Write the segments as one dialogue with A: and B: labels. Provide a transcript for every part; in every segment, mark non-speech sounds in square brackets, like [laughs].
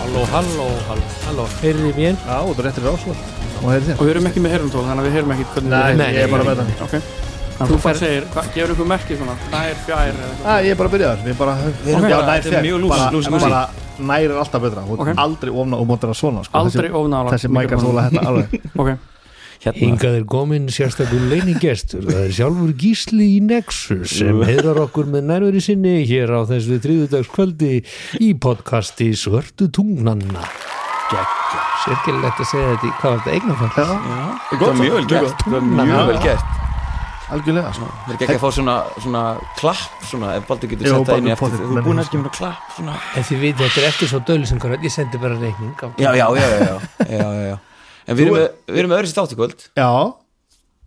A: Halló, halló, halló, halló Heyrið þið mér?
B: Já, þú réttir rásvöld Og heyrið þér
C: Og við erum ekki með herumtól, þannig að við heyrum ekki hvernig
B: Nei,
A: Nei,
B: ég er bara
A: nei,
B: með það
C: Ok, þú fær segir, hva, gefur ykkur merki svona, nær, fjær eða eitthvað
B: Æ, ég er bara að byrja þar Við bara við erum
C: Ok.
B: bara nær
D: Þetta er
B: fjær.
D: mjög lús-
B: Bara-
D: lús-
B: en
D: lús-
B: Bara nær er alltaf betra Þú
C: Ok.
B: okay. aldrei ofna og mótir að svona sko.
C: Aldrei ofnála
B: Þessi, þessi mækar þóla þetta alveg
C: Ok,
D: Hérna,
A: Hingað er komin sérstakur leiningestur Það er sjálfur Gísli í Nexus [laughs] sem heiðar okkur með nærveri sinni hér á þessu þriðudagskvöldi í podcasti Svörtu tungnanna Sérkilegt að segja þetta í hvað var þetta eignafall?
B: Já,
D: það var mjög vel gert Það var
B: Já.
D: mjög vel gert
B: algjörlega sko.
D: Það er ekki að fá svona, svona klapp svona, ef Baldur getur
B: Jó,
D: sett það inn í
B: Baldur,
D: eftir
B: pottet,
D: Þú
B: menn-
D: er búin að skemmt að klapp svona
A: En þið veit þetta er eftir svo dölu sem hvernig ég sendi bara reikning á-
D: Já, já, já, já, já, já, já, já. En við erum, með, við erum með öðru sér þátt í kvöld
B: Já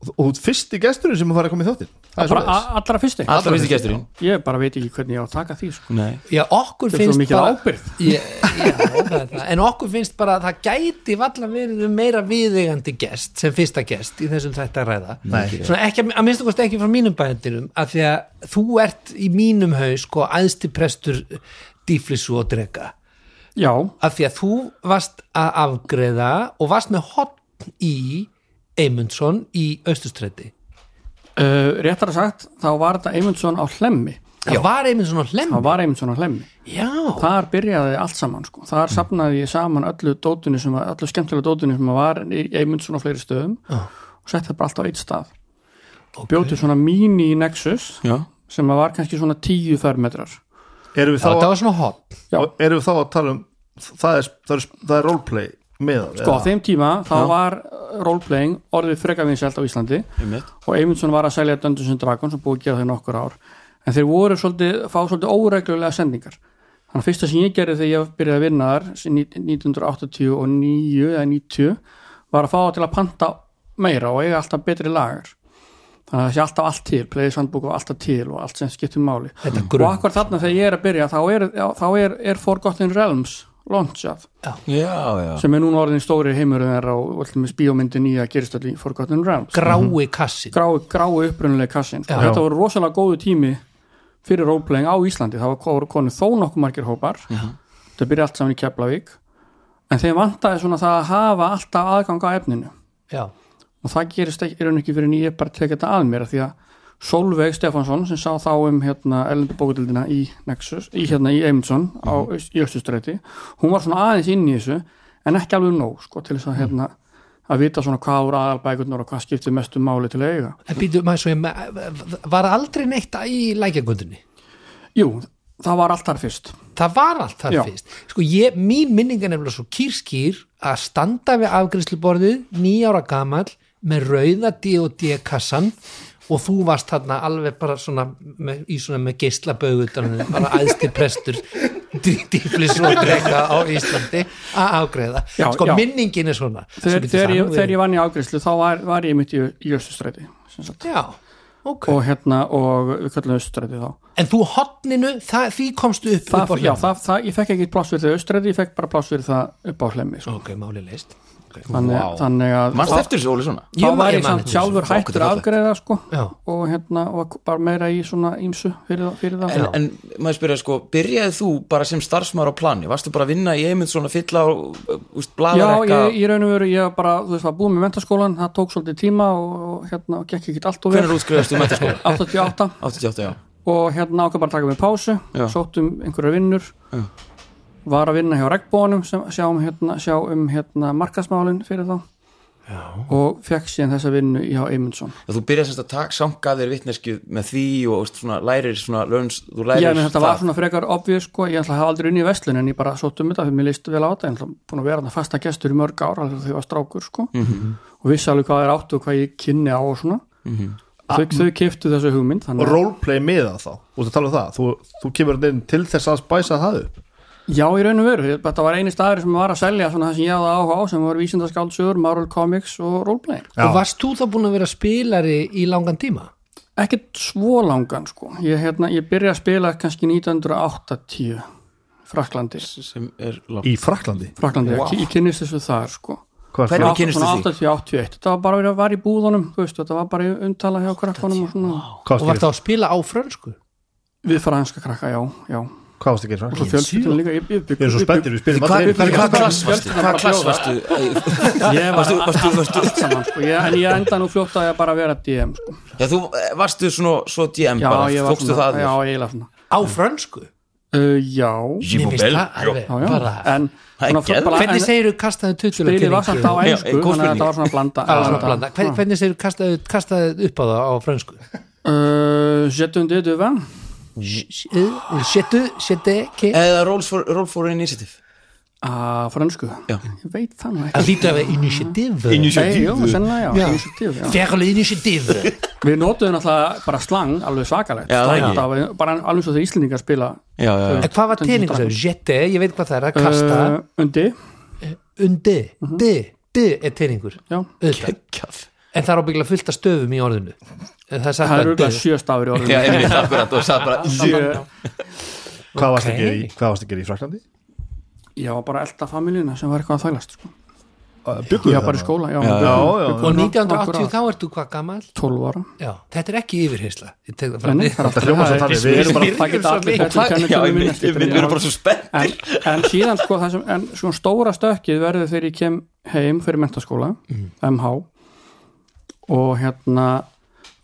B: Og- Og fyrsti gesturinn sem að fara að koma í þáttinn Það er
C: bara
B: svoleiðis.
C: a- allra fyrsti
D: Allra fyrsti gesturinn
C: Ég bara veit ekki hvernig ég á að taka því sko.
D: Nei
A: Já, okkur
C: Þetta er svo
A: finnst
C: mikil
A: bara
C: ábyrgð
A: Já, já, það er það. en okkur finnst bara að það gæti valla verið um meira viðeigandi gest sem fyrsta gest í þessum þetta ræða
B: Nei.
A: Svona ekki, að minnstu kosti ekki frá mínum bændinum að því að þú ert í mínum haus sko æðsti prestur dýflissu og drega
C: Já,
A: að því að þú varst að afgreða og varst með hotn í Eymundsson í Östustræti
C: uh, réttar að sagt þá var þetta Eymundsson á hlemmi
A: það var Eymundsson á
C: þá
A: hlemmi
C: var Eymundsson á hlemmi
A: já,
C: þar byrjaði allt saman sko. þar safnaði ég saman öllu dótunni sem var, öllu skemmtilega dótunni sem var í Eymundsson á fleiri stöðum
A: Já.
C: og setti það bara allt á eitt stað
A: Ok.
C: okay. bjóti svona mini Nexus
D: Já
C: sem að var kannski svona 10 fermetrar
B: Erum við þá
A: þetta
B: að-
A: var svona hotn
B: og erum við þá að tala um Það er, það er, það er roleplay með það
C: sko á þeim tíma þá var uh, roleplaying orðið freka vinsælt á Íslandi
D: Einmitt.
C: og Eymundsson var að selja Dungeons and Dragons og búið að gera þau nokkur ár en þeir voru svolítið, fá svolítið óreglulega sendingar þannig að fyrsta sem ég gerði þegar ég byrjaði að vinna þar sem ní- 1989 eða 90 var að fá þá til að panta meira og eiga alltaf betri lagar þannig að það sé alltaf allt til, players handbook og alltaf til og allt sem skiptum máli
A: þetta
C: og
A: grunn
C: akkur þarna þegar ég er að byrja þá er, já, þá er, er Forgotten Realms launchað
D: Já, já
C: sem er núna orðin stóri heimur þeirra og öllum með bíómyndi nýja gerist öll í Forgotten Realms
A: grái kassin
C: grái, grái upprunuleg kassin
A: Já.
C: og þetta voru rosalega góðu tími fyrir roleplaying á Íslandi það var voru konu þó nokkuð margir hópar þetta byrja allt saman í Keflavík en þeim vantaði svona það að hafa alltaf aðgang á efninu
A: já,
C: og það gerist ekki, er hann ekki fyrir en ég bara tek þetta að mér af því að Solveig Stefansson sem sá þá um hérna ellendu bókutildina í Nexus, í hérna í Eymundsson á,
A: Mhm.
C: í Östustræti, hún var svona aðeins inn í þessu en ekki alveg nóg sko til þess
A: Mhm.
C: að hérna að vita svona hvað voru aðalbækurnar og hvað skipti mestu máli til að eiga.
A: En býtu, maður svo ég, me- var aldrei neitt í lækjagöndunni?
C: Jú, það var allt þar fyrst.
A: Það var allt þar
C: Já.
A: fyrst. Sko, ég, mín minning er nefnilega svo kýrskýr að standa við afgriðsluborðið, nýjára gamall, með rauða D&D kassan og þú varst þarna alveg bara svona með, í svona með geislabögu utan um þig, bara æðsti prestur dýflis og drega á Íslandi að afgreða.
C: Já,
A: sko,
C: já.
A: minningin er svona. Svo
C: Þegar,
A: getur
C: þegar,
A: það
C: ég,
A: nú
C: þegar
A: verið.
C: ég vann í afgriðslu þá var, var ég mitt í, í Östustræti sem sagt.
A: Já, ok.
C: og hérna og við kallum Östustræti þá.
A: en þú hotninu, það, því komstu
C: Það,
A: upp, upp á
C: já,
A: hliðina.
C: það, það, ég fekk ekki pláss fyrir þau Östræti, ég fekk bara pláss fyrir það upp á hlemmi sko.
A: Ok, máli leist.
C: þannig,
B: Vá.
C: þannig að
D: Manst
C: þá-
D: eftir þessu, Óli, svona?
C: þá
A: Ég man-
C: var
A: ég
C: ég
A: man
C: samt
A: eftir
C: sjálfur
D: þessu.
C: hættur
D: Ágætlega
C: afgreða sko
A: Já.
C: og hérna og bara meira í svona ímsu fyrir, það- fyrir það
D: En, en maður spyrja sko, byrjaði þú bara sem starfsmaður á plani? Varstu bara að vinna í einmitt svona fylla og uh, úst,
C: Já,
D: blaðarekka?
C: ég, ég raun og veru, ég bara, þú veist, var búið með mentaskólan, það tók svolítið tíma og, og hérna, og gekk ekkert allt og vel [laughs]
D: Hvernig útskriðast þú með þetta [laughs] sko?
C: 88
D: 88, já
C: og hérna ákveð bara að taka mig pásu
D: Já.
C: sóttum einhverjar vinnur
D: Já.
C: var að vinna hjá regnbónum sem sjáum hérna, sjá um hérna markasmálin um fyrir þá og fekk síðan þessa vinnu hjá Eymundsson
D: og þú byrjar semst að taka samgaðir vitneskju með því og veist, svona, lærir svona lönns, þú
C: Já,
D: lærir
C: menn þetta
D: það.
C: var svona frekar obvious sko, ég ætla að hafa aldrei unni í vestlun en ég bara sótt um þetta, fyrir mér líst vel á þetta ég ætla búin að vera þarna fasta gestur í mörg ár alveg þegar ég var strákur sko
D: Mhm.
C: og vissi alveg hvað er áttu og hvað ég kynni á og svona þau, þau keftu þessu
B: og
C: hugmynd þannig, að-
B: roleplay með það þá og það tala um það, þú, þú kemur þarna inn til þess að spæsa það upp
C: Já, í raun og veru, ég- þetta var eini staður sem var að selja svona það sem ég hafði áhuga á sem var vísindaskáldsögur, Marvel Comics og roleplay
B: Já.
A: og varst þú þá búin að vera spilari í langan tíma?
C: ekkert svo langan sko ég, hérna, ég byrja að spila kannski 1980 Fraklandi,
D: sem er langt
B: í Fraklandi
C: Fraklandi,
D: Vá.
C: wow. ég kynnist þessu þar sko
B: hvað
D: Hvernig
B: er
D: var- kynnist þið því?
C: 81, þetta var bara verið að vara í búðunum þú veist, þetta var bara í umtala hjá krakkanum og svona,
A: og
B: hvað
A: varst
B: varst
A: þá að spila á frönsku?
C: við franska krakka, já, já og
B: hvað varst ekki í
C: svo
B: Fraklandi
C: fjölskyldun líka, ég, ég,
B: við erum svo spenntir, við spilum
D: hvað
B: allir
C: hvað-
D: hvað
C: hvað-
D: klass varstu?
C: hvað-
D: hvað klass
C: hvað-
D: varstu? [laughs]
C: ég var
D: varstu, varstu, varstu,
C: allt saman, sko, ég, en ég enda nú fljótt að ég bara að vera DM, sko,
D: já, þú eh, varstu svona svo DM
C: já,
D: bara,
C: ég var
D: tókstu það að
C: já,
D: þér
C: eiginlega svona,
A: Á frönsku?
C: uh, já
D: Ég
A: Mér
D: fór
A: finnst
D: vel,
A: það
D: já.
A: alveg
C: já, já,
A: bara
C: en
D: Það er
C: svona
D: geðveikt.
C: bara-
A: Hvernig
C: en-
A: segirðu kastaðu
C: spilið var samt á
A: tuttulegur
D: Já,
C: ennsku þannig
D: góð
C: að
D: spurning.
C: þetta var svona blanda,
A: Hvernig, hvernig segirðu kastaðu, kastaðu upp á það á frönsku?
C: Uh, Jetun de Duvan
A: Setu, seti, ke
D: eða Rolls for, Roll for Initiative
C: að Ah, fransku,
D: Já.
C: ég veit það nú ekki
A: Það lítur að við initiative
C: Nei, jú, sennilega, já,
A: Já.
C: initiative, já.
A: Ferle [laughs] initiative
C: Við notuðum alltaf bara slang alveg svakalegt
D: Já, það
C: Slang,
D: ekki.
C: það var bara alveg svo þegar Íslendingar spila
D: já, já, já.
A: En hvað var teiningur svo? Jette, ég veit hvað það er að kasta
C: uh, undi
A: Undi,
C: mhm.
A: di, di er teiningur
C: já.
A: auðvitað. En það er ábyggilega fullt af stöfum í orðinu En Það er sagt
C: Það eru
A: bara
C: auðvitað
A: di
C: sjö stafur í
D: já,
C: orðinu
D: einmitt, akkurat, og sagði bara
C: Sjö.
B: hvað varst
A: Ok.
B: ekki í hvað varst ekki í Fraklandi
C: Ég var bara elda familíuna sem var eitthvað að þælast sko. Ég
B: byggum
C: var bara í skóla, já,
B: já, já,
A: Og
B: já.
A: 1980 þá ertu hvað gamall
C: 12 ára
A: Já, þetta er ekki yfirheysla
C: Nei, nei, það er
B: þetta
C: alltaf-
B: hljóma svo þannig við erum bara
C: Það geta allir
D: og
C: betur
D: hvað, já,
C: kennitölu mín
D: einmitt,
C: eftir
D: við
C: þrjá ára.
D: erum bara svo spennt
C: en, en síðan sko það sem en, svona stóra stökkið verður þegar ég kem heim fyrir mentaskóla, MH og hérna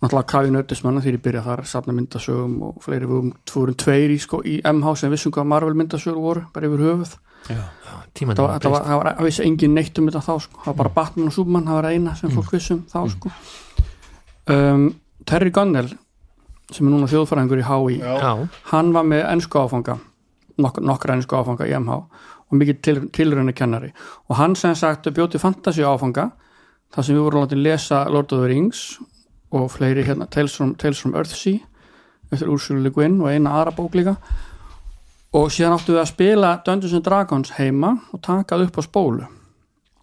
C: náttúrulega kafi nördismanna þegar ég byrja þar safna myndasögum og fleiri við vorum, vorum tveir í, sko, í MH sem vissum hvað Marvel myndasögur voru bara yfir höfuð
A: Tíman
C: það var, það var, það var að vissi engin neitt um þetta þá sko. það var bara Batman og Superman, það var eina sem fólk vissum þá sko um, Terry Gunnell sem er núna þjóðfræðingur í HÍ
A: Já,
C: hann var með ennsku áfanga nok nokkra ennsku áfanga í MH og mikið til, tilröna kennari og hann sem sagt bjóti fantasi áfanga þar sem við vorum látið lesa Lord of the Rings og fleiri hérna Tales from, Tales from Earthsea eftir Ursula Le Guin og eina aðra bók líka og síðan áttum við að spila Dungeons and Dragons heima og takað upp á spólu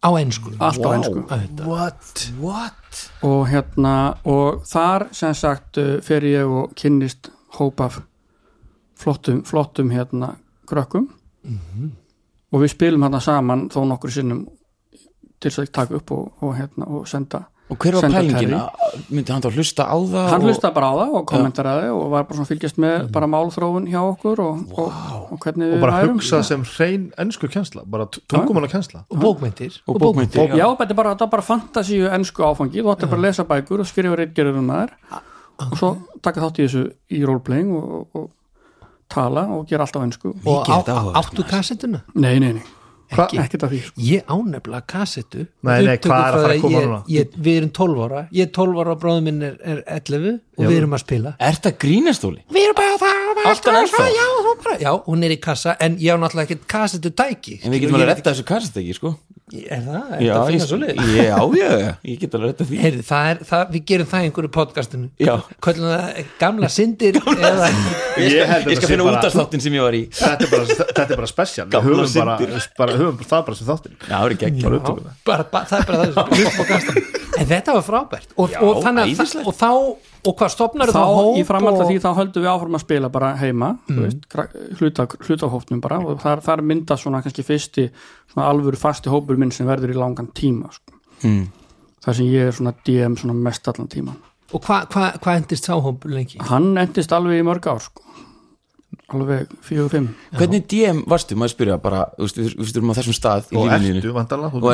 A: á ennsku
C: allt á ennsku
B: what
D: what?
C: og hérna og þar sem sagt uh, fer ég og kynnist hóp af flottum, flottum hérna krökkum
D: Mhm.
C: og við spilum hérna saman þó nokkur sinnum til þess að taka upp og, og hérna og senda
D: og hver var
C: Senda
D: pælingin? myndi hann þá hlusta á það
C: hann
D: og-
C: hlusta bara á það og kommentaraði og var bara svona að fylgjast með
D: Mhm.
C: bara málþróun hjá okkur og, og, og hvernig
B: og
C: við
B: bara
C: værum.
B: hugsa sem hrein ennsku kjensla bara tungumanna kjensla
A: Og bókmyndir
D: og bókmyndir
C: Já, þetta er bara, þetta er bara fantasíu ennsku áfangi þú ætti bara að lesa bækur og skrifa reitgerður um þær og svo taka þátt í þessu í roleplaying og, og, og tala og gera alltaf ennsku
A: Og
D: Mikið er þetta
A: á-
D: áhugavert,
A: áttu kassettuna?
C: Nei, nei, nei,
B: Hva-
C: ekkert af því sko.
A: Ég ánefla kassetu
B: Nei, nei,
A: upptöku
B: hvað er að
A: frá
B: fara að
A: því
B: koma
A: ég-
B: núna?
A: ég, Við erum 12 ára, ég er 12 ára og bróðum minn er, er 11 og við erum að spila
D: er þetta grínastóli?
A: Við erum bara það, bara
D: Allt annað ennþá.
A: já, hún bara, já, hún er í kassa en ég á náttúrulega ekkert kassetu tæki
D: en við getum alveg að retta þessu kastegi sko
A: Er það, er
D: já,
A: það
D: ég,
A: fyrir svo lið?
D: já, já, já, ég get alveg að retta því
A: Heyrðu, það er, það, við gerum það í einhverju podcastinu
D: Já.
A: Köllum það gamla syndir eða,
D: ég
B: Ég held að
D: skal, ég
B: þetta
D: skal
B: sé
D: finna
B: bara-
D: útastáttin sem ég var í já,
B: þetta er bara, þetta er bara spesial við
D: Gamla
B: höfum bara,
D: syndir.
B: bara, höfum bara það bara sem þáttir
D: það er gegn
B: bara upptökuna
A: bara, bara, það er bara það sem- hlusta á podcastinu. En þetta var frábært og,
D: Já,
A: og, þannig, að-
D: æðislegt.
A: og þá, og hvað stopnar
C: þá í framhald af
A: og,
C: því þá höldum við áfram að spila bara heima mm. veist, krak- hluta, hluta hópnum bara og þar, þar mynda svona kannski fyrsti svona alvöru fasti hópur minn sem verður í langan tíma sko.
D: Mm.
C: þar sem ég er svona DM svona mest allan tíman
A: og hvað hva, hva endist sáhóp lengi?
C: hann endist alveg í mörg ár sko. alveg 4-5
D: Hvernig DM varstu, maður spyrja bara þú veist, Við við erum á þessum stað í
B: og
D: lífinu
B: ertu
D: þínu.
B: vandala
D: Og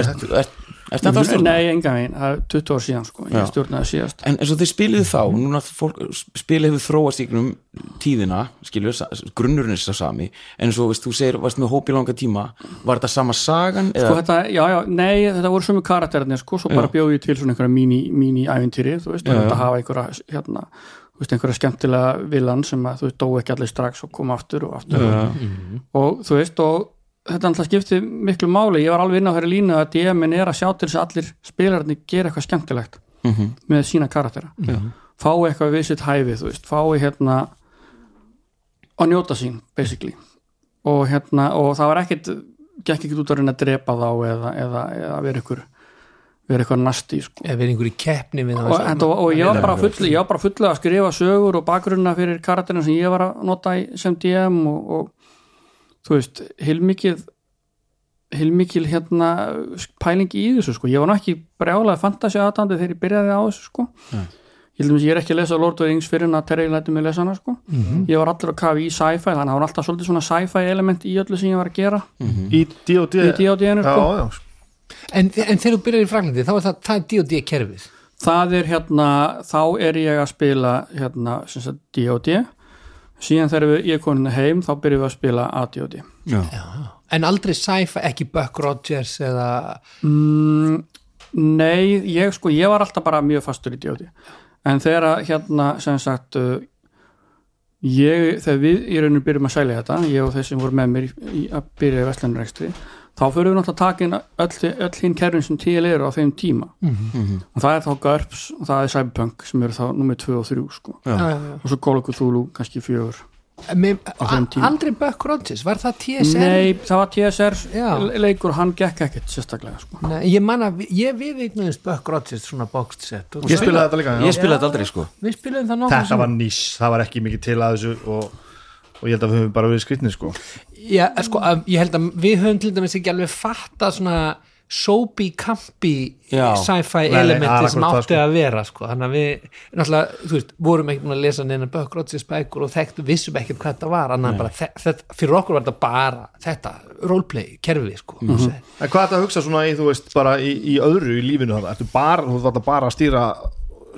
D: ert þetta að stjórna?
C: Nei, engan veginn, það er 20 ár síðan sko,
D: Já.
C: ég stjórnaði síðast
D: En eins og þið spiliðu þá, núna fólk, spilið hefur þróast í grunum tíðina, skilur, grunnurinn er sá sami, en svo, veist, þú segir, varst með hóp í langa tíma, var þetta sama sagan?
C: Sko þetta, já, já, nei, þetta voru sömu karakterarnir sko, svo bara bjóð ég til svona einhverja mini- mini-ævintýri, þú veist, þetta hafa einhverja, hérna, þú veist, einhverja skemmtilega villan sem að þú veist, dó ekki allir strax og kom aftur og aftur og, og þú veist, og þetta alltaf skipti miklu máli, ég var alveg inn á þeirri línu að DM-in er að sjá til þess að allir spilararnir gera eitthvað skemmtilegt
D: Mhm.
C: með sína karaktera fái eitthvað við sitt hæfi, þú veist, fái hérna að njóta sín, basically og hérna, og það var ekkit gekk ekkit út að reyna að drepa þá eða, eða, eða vera ykkur vera ykkur nasti, sko
A: eða verið einhverju keppni við
C: og, en, og, og ég var bara full, ég var bara full að skrifa sögur og bakgrunna fyrir karakterina sem ég var að nota í, sem DM og, og þú veist, heilmikið heilmikil hérna pæling í þessu sko, ég var nú ekki brjálega fantasi aðtandi þegar ég byrjaði á þessu sko ég held að ég er ekki að lesa Lord of the Rings fyrir en að Terry læti mig lesa hana sko ég var allur að kafa í sci-fi, þannig að það var alltaf svolítið svona sci-fi element í öllu sem ég var að gera
B: í D.O.D.
C: í D.O.D.-inu
B: Já,
C: sko
B: já,
A: en, en þegar þú byrjar í Fraklandi þá er það, það er D&D kerfið
C: það er hérna, þá er ég að spila hérna, sem sagt D.O.D síðan þegar við, ég er komin heim þá byrjum við að spila A.D.O.D
A: en aldrei sci-fi, ekki Buck Rogers eða
C: mm, nei, ég sko ég var alltaf bara mjög fastur í D.O.D en þegar að hérna, sem sagt uh, ég, þegar við í rauninu byrjum að selja þetta, ég og þeir sem voru með mér í, í, að byrja í Vestlandurekstri þá fyrir við náttúrulega að taka inn öll, öll hinn kerfin sem til eru á þeim tíma og það er þá GURPS og það er Cyberpunk sem eru þá nummer 2 og 3 sko.
A: Já, já, já.
C: og svo Call of Cthulhu kannski fjögur
A: Með,
C: þeim tíma.
A: aldrei Buck Rogers, var það TSN?
C: Nei, það var TSR
A: Já.
C: leikur, hann gekk ekkert sérstaklega sko.
A: Nei, ég man að vi- ég við eignuðist Buck Rogers svona boxed set og
B: Ég spilaði þetta líka já.
D: Ég spilaði þetta aldrei, sko.
A: við spilum það nokkuð
B: Þetta var nýs, það var ekki mikið til að þessu og, og ég held að við höfum bara verið skrittni sko.
A: Já, sko, að, ég held að við höfum til dæmis ekki alveg fatta svona soapy, campy
D: Já.
A: sci-fi
B: nei, það er
A: elementi sem
B: akkurat það,
A: átti
B: sko.
A: að vera sko. þannig að við, náttúrulega, þú veist vorum ekki búin að lesa neina bökkrótsins bækur og þekkt, vissum ekkert hvað þetta var annað en bara, þe- þetta, fyrir okkur var þetta bara þetta, roleplay, kerfi sko.
B: Mhm. En hvað er þetta að hugsa svona í, þú veist, bara í, í öðru í lífinu þarna? Ertu bara, þú þarna bara að stýra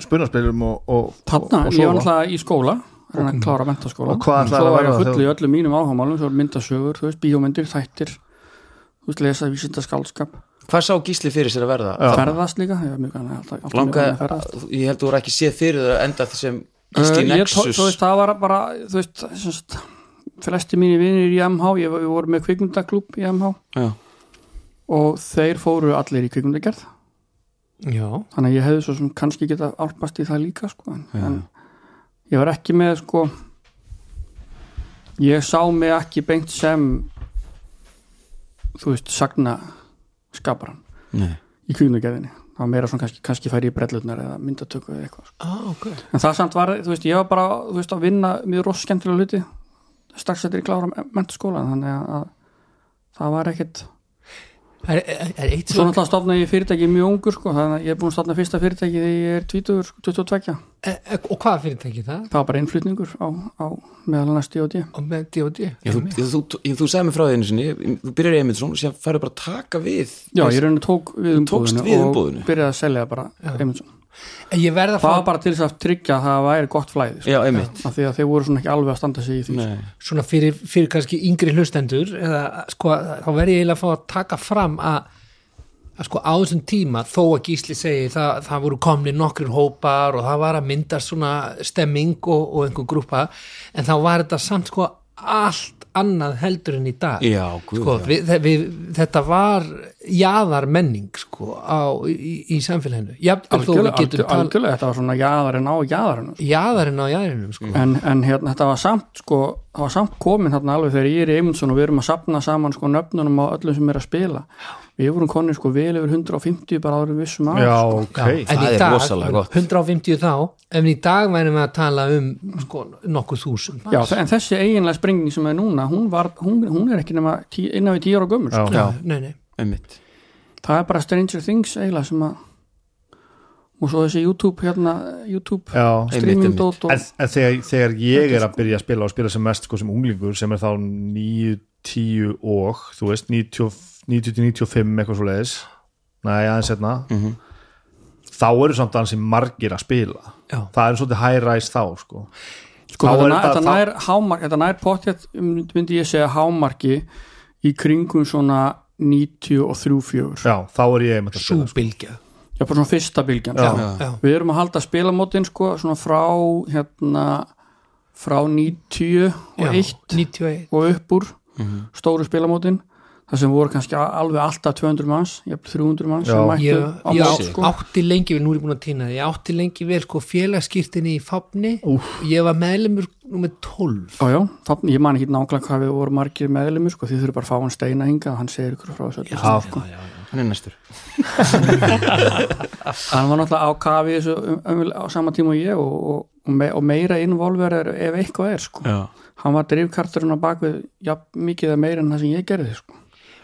B: spunarspilum og, og, og,
C: Þarna,
B: og
C: ég
B: sofa?
C: var náttúrulega í skóla hann að klára mentaskóla
B: Og hvað ætlaðir
C: svo
B: að
C: var ég
B: verða
C: full í
B: þegar-
C: öllum mínum áhámálum svo var myndasögur, þú veist, bíómyndir, þættir þú veist, lesa vísinda skálskap
D: Hvað sá Gísli fyrir sér að verða?
C: ferðast líka, ég var mjög gana alltaf, alltaf mjög gaman að
D: Langa,
C: ferðast.
D: ég held þú voru ekki séð fyrir það að enda þessum
C: Uh,
D: Gísli
C: ég tó-
D: Nexus.
C: þú veist, það var bara þú veist, sem sagt, flesti mínir vinir í MH, ég var, við vorum með kvikmyndaklúb í MH
D: Já.
C: og þeir fóru allir í kvikmyndagerð
A: Já,
C: þannig að ég hefði svo sem kannski geta álpast í það líka sko en, en ég var ekki með sko ég sá mig ekki beint sem þú veist, sagna skaparan
D: Nei.
C: í kvíðnugerðinni það var meira svona kannski, kannski færi í brellutnar eða myndatöku eða eitthvað sko.
A: ah, ok
C: en það samt var, þú veist, ég var bara þú veist, að vinna mjög ross skemmtilega hluti strax eftir ég klára mentaskóla þannig að, að það var ekkit
A: Það er, er, er eitt
C: Svo
A: svona
C: náttúrulega stofnaði ég fyrirtæki mjög ungur sko, þannig að ég er búin að stofna fyrsta fyrirtæki þegar ég er sko, 20, 22
A: og hvað fyrirtæki er það?
C: það var bara innflutningur á, á meðal annars D.O.D.
A: Og með D&D?
D: Já, þú, þú, þú, þú, þú sagði mér frá því einu sinni, þú byrjar í Emilsson og sér færðu bara að taka við
C: Já, ég raunin tók við
D: tókst
C: umbúðinu
D: við
C: og
D: umboðinu.
C: byrjaði að selja bara Eymundsson.
A: En ég verð að
C: Það var
A: fá
C: bara til þess að tryggja að það væri gott flæði sko,
D: Já, einmitt
C: af því að þeir voru svona ekki alveg að standa sig í því sko.
D: Nei.
A: svona fyrir, fyrir kannski yngri hlustendur eða sko þá verð ég eiginlega að fá að taka fram að, að sko á þessum tíma þó að Gísli segi það, það voru komni nokkrir hópar og það var að myndast svona stemming og, og einhver grúpa en þá var þetta samt sko allt annað heldur en í dag
D: Já, guð,
A: sko,
D: já.
A: við, þe- við, þetta var jaðar menning sko á, í, í samfélaginu jafnvel þó við
C: Algjörlega,
A: getum
C: algjör-
A: talað
C: algjörlega, þetta var svona jaðarinn á jaðarinn sko.
A: jaðarinn á jaðarinum
D: Mm.
A: sko
C: en, en hérna, þetta var samt sko, það var samt komin þarna alveg þegar ég er í Eymundsson og við erum að sapna saman sko nöfnunum á öllum sem er að spila við vorum konir sko vel yfir 150 bara áður en við vissum að
B: Já,
C: sko.
B: ok.
A: en
D: Það
A: í
D: er
A: dag,
D: rosalega gott.
A: 150 þá en í dag værum við að tala um sko, nokkuð þúsund
C: Já, þe- en þessi eiginlega springing sem er núna hún, var, hún, hún er ekki nema tí, innan við 10 ára gömur sko.
A: nei, nei.
D: einmitt
C: það er bara Stranger Things eiginlega sem að og svo þessi YouTube hérna, YouTube
B: Já.
D: Einmitt,
C: streaming dót og
B: en, en þegar, þegar ég
C: sko-
B: er að byrja að spila og spila sem mest sko, sem unglingur sem er þá 9, 10 og þú veist 90-95 eitthvað svo leiðis næja aðeins hérna þá eru samt aðeins margir að spila
A: Já.
B: það er svolítið high rise þá sko.
C: sko
B: þá
C: þetta
B: er
C: nær-
B: þetta-
C: þetta nær hámark þetta nær pottjætt myndi ég segja hámarki í kringum svona 93-4
B: Já, þá er ég með að
A: sú
B: spila sko.
A: bylgja
C: já bara svona fyrsta bylgjan
A: já,
C: sko.
A: já. Já.
C: við erum að halda spilamótin sko svona frá hérna frá 90 og 1
A: 91
C: og upp úr
A: Mhm.
C: stóru spilamótin það sem voru kannski alveg alltaf 200 manns, jafnvel 300 manns sem
B: Já.
C: mættu
A: ég,
C: á
A: ég
C: mót,
A: á-
C: sko.
A: átti lengi við, nú er ég búin að týna það ég átti lengi við sko félagskýrtinni í Fafni ég var meðlumur nummer 12
C: Já, já, það, ég man ekki nákvæmlega hvað við vorum margir meðlumir sko, þið þurfum bara að fá hann steina hinga og hann segir ykkur frá þessu öllu.
B: Já, sko.
D: hann er næstur
C: hann var náttúrulega á kafi þessu um, um, á sama tíma og ég og, og, og, me, og meira involver ef eitthvað er sko.
D: Já.
C: hann var drifkarturinn á bakvið ja, mikið eða meira en það sem ég gerði sko.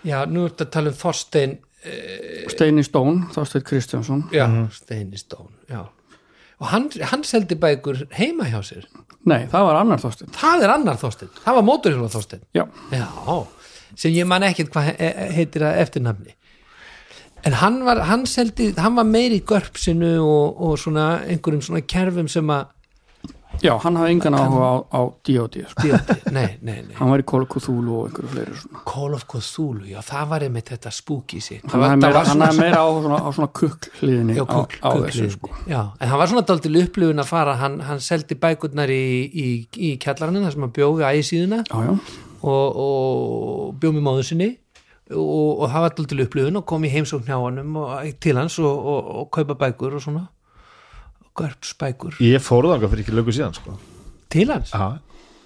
A: já, nú ertu að tala um Þorstein
C: Steini Stón, Þorsteinn Kristjánsson
A: já, Steinistón já. og hann, hann seldi bækur heima hjá sér
C: nei, það var annar Þorsteinn
A: það er annar Þorstein, það var móturhjóla Þorstein
C: já,
A: já, sem ég man ekkert hvað he- he- heitir að eftirnafni en hann var, hann seldi hann var meiri í görpsinu og, og svona einhverjum svona kerfum sem að
C: já, hann hafði engan áhuga á, á D.O.D. Sko. [laughs]
A: nei, nei, nei,
C: hann var í Kolkuthúlu og einhverju fleiri svona.
A: Call of Cthulhu já, það var einmitt þetta spooky sitt
C: hann hafði meira, hann hafði meira á, svona, á svona kukk hliðinni
A: já,
C: á,
A: kukl,
C: á þessu sko.
A: já, en hann var svona daldil upplifun að fara hann, hann seldi bækurnar í, í, í kjallarinn þar sem hann bjóði ægisíðuna
C: já, já
A: og, og bjóð með móðu sinni og, og það var alltaf til upplifun og kom í heimsókn hjá honum og, eh, til hans og, og, og kaupa bækur og svona görpsbækur
B: sko. ég fóruð þangað fyrir ekki lögu síðan sko.
A: til hans
B: Já,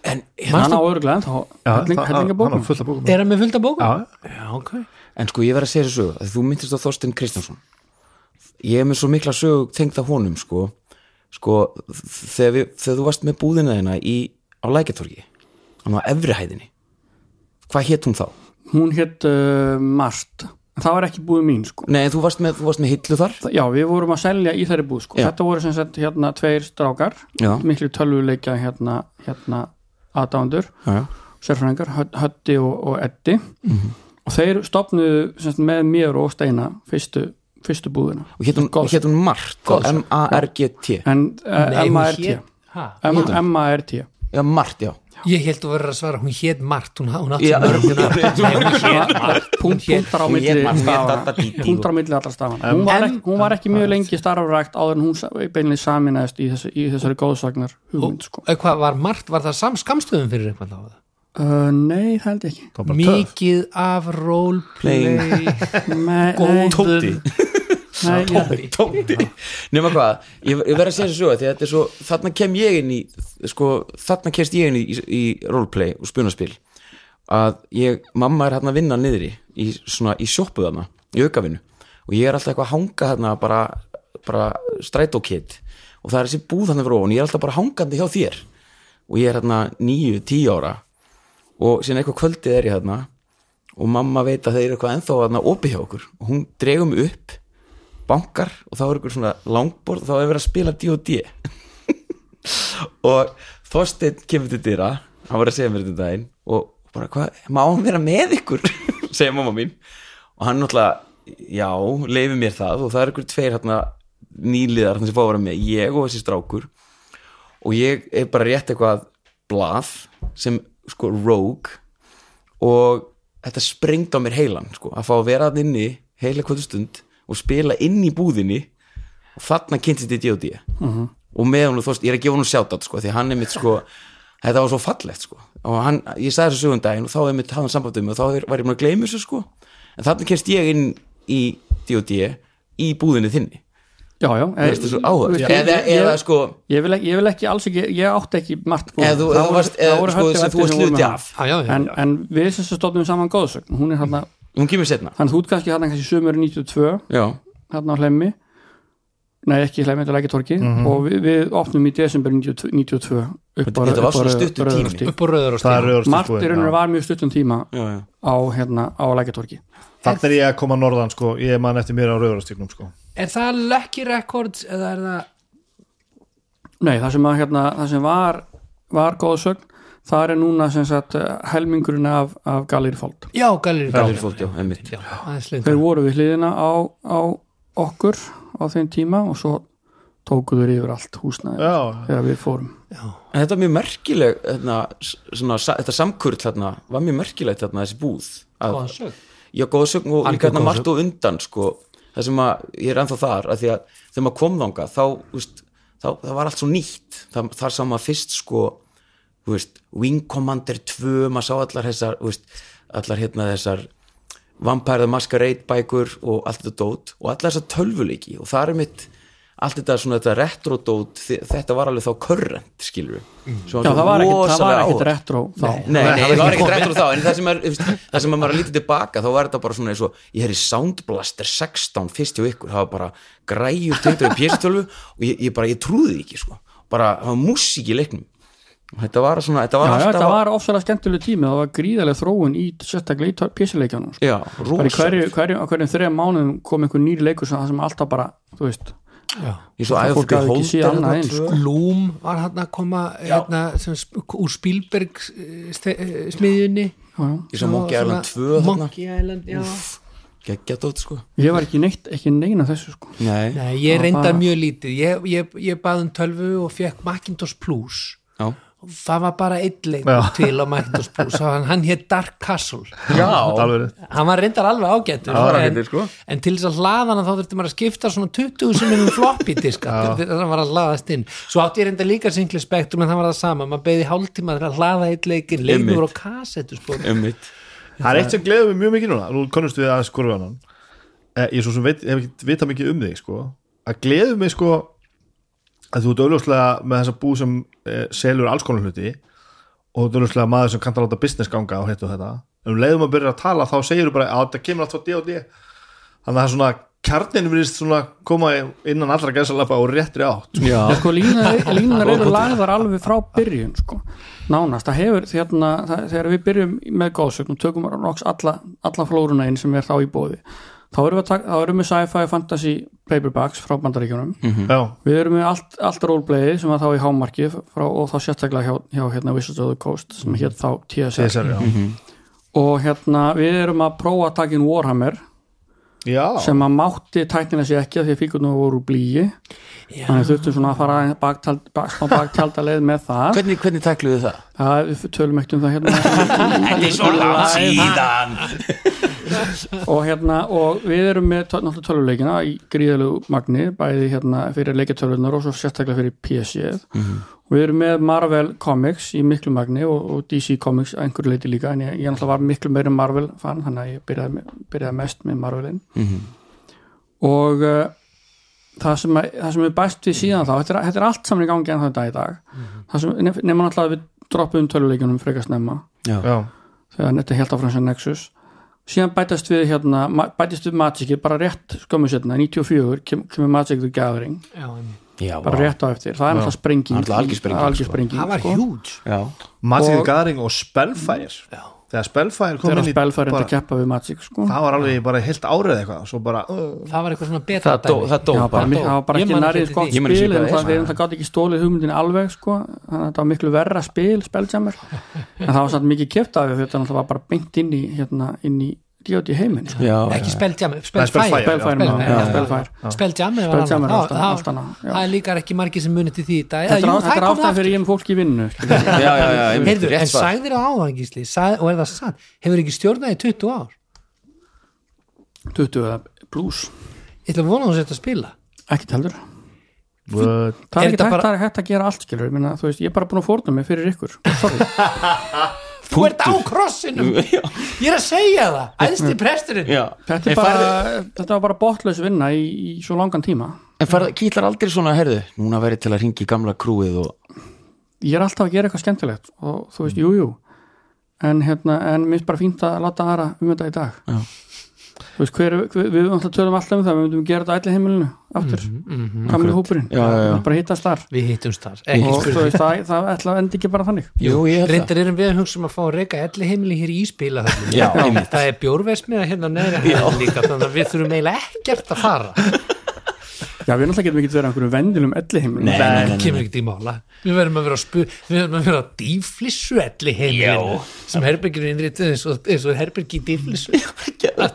D: en,
C: hann á örglega en þá
B: það-
C: helling-
B: hann
C: hellinga
B: hann
C: bókum
B: var fullt af bókum
A: er hann með fullt af bókum?
B: Já,
A: já ok
D: en sko ég verð að segja þessu sögu að þú myndist á Þorstein Kristjánsson ég er með svo mikla sögu tengda honum sko, sko þegar, við, þegar þú varst með búðina þeina í, á lækjartorgi hann var efri hæðinni hvað hétt hún þá?
C: hún hétt uh, Mart en það var ekki búið mín sko
D: Nei, en þú varst með, þú varst með hillu þar
C: Þa- já, við vorum að selja í þeirri búð sko
D: Já.
C: þetta voru sem sagt hérna tveir strákar
D: Já.
C: miklu tölvuleikja hérna, hérna aðdándur
D: já,
C: sérfræðingar, Höd- Höddi og, og Eddi
B: Mhm.
C: og þeir stopnuðu sem sagt, með mér og Steina fyrstu, fyrstu búðina
D: og hétt hún, hét hún Mart þá, M-A-R-G-T
C: en uh,
A: Nei, hún
C: M-A-R-T
A: hét- ha?
C: M-A-R-T
D: já, Mart, já
A: ég held að vera að svara, hún hét Mart hún, hún átti
D: Já.
A: mörg
C: punktar á
D: Hún hét
C: milli
D: Mart, hún hét
C: stafanna.
D: Dadda Dídí.
C: punktar á milli allra stafana hún var, ekki, hún var ekki mjög lengi starfrækt áður en hún sa- beinlega saminæðist í, þessu, í þessari góðsagnar hugmynd sko.
A: Eh, hvað var Mart, var það samskamstöðum fyrir eitthvað þá?
C: uh, nei, það held ég ekki
B: það var bara töff.
A: mikið af roleplay
C: Me, nei,
D: Tóti
C: nei, ég held ekki.
D: Tóti nema hvað, ég, ég verð að segja þessu sögu því að þetta er svo, þarna kem ég inn í sko, þarna kemst ég inn í, í roleplay og spunaspil að ég, mamma er hérna að vinna niðri í svona, í sjoppu þarna, í aukavinu og ég er alltaf eitthvað að hanga hérna bara, bara strætókitt og það er þessi búð þarna fyrir ofan, ég er alltaf bara hangandi hjá þér og ég er hérna níu, tíu ára og síðan eitthvað kvöldið er ég hérna og mamma veit að þeir eru eitthvað ennþá hérna opið hjá okkur og hún dregum upp bankar og þá er ykkur svona langborð og þá er verið að spila D&D [laughs] og Þorsteinn kemur til dyra, hann var að segja mér þetta um daginn og bara hvað, má hann vera með ykkur [laughs] segja mamma mín og hann náttúrulega, já, leifi mér það og það er ykkur tveir hérna nýliðar hann sem fá að vera með, ég og þessi strákur og ég er bara rétt eitthvað blað sem sko rogue og þetta sprengt á mér heilan sko, að fá að vera að inni heila hvað stund og spila inn í búðinni og þarna kynntist ég D.O.D.
C: Mhm.
D: og með hún og þorst, ég er að gefa hún sjátt sko, því hann er mitt sko, þetta var svo fallegt sko, og hann, ég sagði þessu sögum daginn og þá er mitt hafðan sambandum mig og þá er- var ég mér að gleyma þessu sko, en þarna kynst ég inn í D.O.D. í búðinni þinni,
C: já, já
D: það er svo áhverð
C: Ég-
D: eða,
C: ég-
D: eða sko,
C: ég vil, ekki, ég vil ekki alls ekki, ég átti ekki margt búið.
D: Eða þú-
C: Það
D: eða þú
C: voru-
D: varst-
C: það
D: eða
C: voru
D: sko
C: Höddi og
D: sem þú
C: Eddi
D: varst
C: voru
D: hluti
C: með
D: af.
A: [laughs] Já, já, já.
C: en, en við sem sagt stofnum saman góðsögn hún er hérna,
D: hún kemur setna
C: þannig þú ert kannski hérna kannski sömur 92
D: já,
C: hérna á hlemmi nei ekki hlemmi, þetta er ekki torki og við, við opnum í desember 92, 92 upp
D: Mhm. Þetta- þetta var svona stuttur tími.
A: upp á rauður og
B: það er
A: stíl
B: rauðurstu
C: Martirunur var mjög stuttum tíma
D: já, já.
C: á, hérna, á lækjartorki
B: Þannig er ég að koma norðan sko, ég man eftir mér á rauðurastíknum sko.
A: er það Lucky Records eða er það
C: Nei, það sem, að, hérna, það sem var, var góðsögn, það er núna sem sagt eh, helmingurinn af, af Gallerifald.
A: já, Gallery
D: Gallir fólk, já, einmitt
A: já, aðeins lengra.
C: Þeir voru við hliðina á, á okkur á þeim tíma og svo tóku þeir yfir allt húsnaði
B: já,
C: þegar við fórum.
D: En þetta var mjög merkileg hérna, s- svona, sa- þetta samkurl þarna, var mjög merkilegt þarna þessi búð að,
A: Góðan sögn.
D: Já, góðsögn og líka
A: Algjör
D: þarna margt
A: goðsögn.
D: og undan sko, það sem að ég er ennþá þar að því að þegar maður kom þanga þá, úst, þá, það var allt svo nýtt það, þar sá maður fyrst sko þú veist, Wing Commander 2 maður sá allar þessar þú veist, allar hérna þessar Vampire the Masquerade bækur og allt þetta dót og allar þessar tölvuleiki og það er mitt allt þetta svona þetta retrodót þi- þetta var alveg þá körrent skilur við Svo
C: Mm. Já, það var ekkit, það var
D: rosalega
C: ekkit
D: áhugavert.
C: retro þá.
D: Nei, nei, það var ekkert retro þá en það sem, er, þú veist, það sem að maður er lítið tilbaka þá var þetta bara svona eins og ég hefði Soundblaster 16 fyrst hjá ykkur, það var bara græjur tengdur í PS12 og ég, ég bara, ég trúði því ekki sko, bara það var músík í leiknum þetta var svona, þetta
C: Já,
D: var
C: já,
D: alltaf
C: þetta var ofsalega skemmtileg tími, það var gríðarlega þróun í sérstaklega í písileikjanum. Sko.
D: já,
C: Bara í
D: rosa,
C: hverju, hverju, á hverjum þreja mánuðum kom einhver nýr leikur sem, sem alltaf bara, þú veist,
D: ég svo
C: það
D: æfði
C: fólk
D: fyrir
C: hafði ekki séð annað eins, sko.
D: hóttir
A: Loom var hann að koma hérna, sem, sp- úr Spielberg eh, ste- eh, smiðjunni
D: ég svo Monkey
A: Svona-
D: Island 2 þarna,
A: Monkey Island, já
D: geggja dót sko
C: ég var ekki neitt, ekki neina þessu sko.
D: nei,
A: Nei, ég
C: Það
A: reyndar
C: bara-
A: mjög lítið ég, ég, ég baði um tölvu og fekk Macintosh Plus
D: já
A: það var bara einn leikur til á Macintosh [laughs] Plus hann, hann hétt Dark Castle
B: þetta
D: já,
B: alveg rétt.
A: hann var reyndar alveg ágættur
D: Það var
A: en-
D: ágætur, sko.
A: en til þess að hlaða hann þá þurfti maður að skipta svona 20 sem um floppy diska þannig að hann var að hlaðast inn svo átti ég reyndar líka singli spektrum en það var það sama maður beði hálftíma til að hlaða eitt leikin
D: Einmitt.
A: leikur voru á kassettu sko
D: ummitt
B: það er eitt sem gleður mig mjög mikið núna nú konnustu við aðeins skorðu annan Eh, ég svo sem veit, hef ekki vita mikið um þig sko. að gleður mig sko að þú ert auðljóslega með þessa bú sem e, selur alls konar hluti og þú ert auðljóslega maður sem kannt að láta business ganga og hitt og þetta, en um leiðum að byrja að tala þá segir þú bara að þetta kemur alltaf D og D þannig að það er svona kjarnin virðist svona koma innan allra gæðsalapa og réttri átt
D: já,
C: Já, sko,
D: [laughs]
C: línunar, línunar eru lagðar alveg frá byrjun sko. nánast, það hefur þérna, það, þegar við byrjum með góðsögn og tökum noks alla, alla flóruna inn sem er þá í bóði þá erum við, að taka, þá erum við sci-fi fantasy paperbacks frá bandaríkjunum
B: já,
C: við erum með allt, allt roleplayið sem var þá í hámarki frá, og þá sérstaklega hjá, hjá hérna, Wizards of the Coast sem hétt þá TSR
B: TSR, já.
C: og hérna, við erum að prófa að taka inn Warhammer
B: já,
C: sem að mátti tæknina sér ekki af því að fíkurnar voru úr blíi
A: Já.
C: þannig þurftum svona að fara aðeins baktald, bak, smá baktaldaleið með það
D: hvernig, hvernig tækluðu það?
C: það við tölum ekkert um það hérna
D: þetta er svo langt síðan
C: og hérna og við erum með töl- náttúrulega töluleikina í gríðalegu magni bæði hérna fyrir leikjartölunar og svo sérstaklega fyrir PC og við erum með Marvel Comics í miklu magni og, og DC Comics að einhverju leiti líka en ég, ég náttúrulega var miklu meiri Marvel fan þannig að ég byrjaði, með- byrjaði mest með Marvelin og uh, það, sem að, það sem við bæst við síðan þá þetta er, þetta er allt saman í gangi en þetta í dag það sem nef- nema náttúrulega að við droppuðum töluleikunum frekast nefna
B: já.
C: þegar þetta held áfram sem Nexus síðan bætast við hérna ma- bætist við Magicið bara rétt skömmu setna 94 kem, kemur Magic the Gathering
A: Já, einmitt.
D: já,
C: bara rétt á eftir, það er alltaf sprenging
D: Það er náttúrulega algjör sprenging,
C: Það er algjör sprenging
A: það
D: sko.
A: var
C: sko.
A: huge
D: já
B: Magic
C: Og-
B: og... Gathering og Spellfire þegar Spellfire kom
C: þegar
B: inn í
C: spelfærið bara...
B: bara-
C: að keppa við Magic sko.
B: það var alveg bara heilt árið eitthvað svo bara,
A: það var eitthvað svona beta
D: það dó,
A: dæmi.
D: það dó
C: Já, bara,
D: bara
C: miklu- það var bara
A: Ég
C: ekki sko.
A: man
C: nærið
A: eftir
C: gott
A: því.
D: Ég man ekki
C: spil en
D: hvað
C: það
D: það er.
C: þegar það gátt ekki stólið hugmyndin alveg sko. þannig að þetta var miklu verra spil speltjammer, en það var samt mikið keppt af því þetta náttúrulega var bara beint inn í hérna, inn í D.O.D. heiminn sko.
D: já,
A: ekki Spelljam,
B: Spellfire, já.
A: Spellfire
C: Spellfire,
A: Spellfire,
C: maður,
A: já,
C: já,
A: já.
C: Spellfire.
A: Spelljam er
C: Spelljam er allt
A: annað.
C: annað,
A: Það-
C: allt annað, já.
A: það er líka ekki margir sem munið til því í dag.
C: þetta er
A: Jú,
C: á-
A: það
C: þetta er
A: kom
C: ástæðan
A: aftur.
C: fyrir ég með fólk í vinnu skilur.
D: já, já, já, einmitt,
A: Heyrðu,
D: rétt
A: en
D: svar.
A: sagðir á áðan gísli sag, og er það sann, hefur ekki stjórnað í 20 ár
C: 20 eða pluss
A: ég ætla að vona að þú sért að spila
C: ekkert heldur
B: What?
C: það
A: Er
C: er ekki
A: þetta
C: hægt,
A: bara-
C: bara... hægt að gera allt skilur minna, veist, ég er bara búin að fórna mig fyrir ykkur [laughs] Sorry.
A: þú ert á krossinum ég er að segja það, æðsti presturinn
D: já.
C: þetta,
D: En
C: er bara,
D: farðu-
C: þetta var bara botlaus vinna í, í svo langan tíma
D: En farða, kýtlar aldrei svona, herðu, núna verið til að ringi gamla krúið og
C: ég er alltaf að gera eitthvað skemmtilegt og þú veist, jú, jú en, hérna, en mér er bara fínt að láta aðra um þetta í dag
D: Já.
C: þú veist, hver, hver, við náttúrulega tölum alltaf um það við myndum gera þetta allir heimilinu aftur gamli hópurinn,
D: Já, já, já.
C: Við bara hittast þar
A: við hittumst þar
C: og
A: ekki
C: þú veist, það, það ætla að enda ekki bara þannig
D: Jú, ég held
A: reyndar erum við að hugsa um að fá að reyka elli heimili hér í spila
D: Já, einmitt.
A: það er bjórversmiða hérna neðri hæðinni líka þannig að við þurfum eiginlega ekkert að fara
C: Já, við náttúrulega getum ekki verið að einhverjum vendilum elli heimilum
D: Nei, nei, nei, nei,
A: kemur ekkert í mála við verðum að vera að spu við verðum að vera að dýflissu elli heimilinu sem herbergir er innréttið eins og, eins og herbergi í dýflissu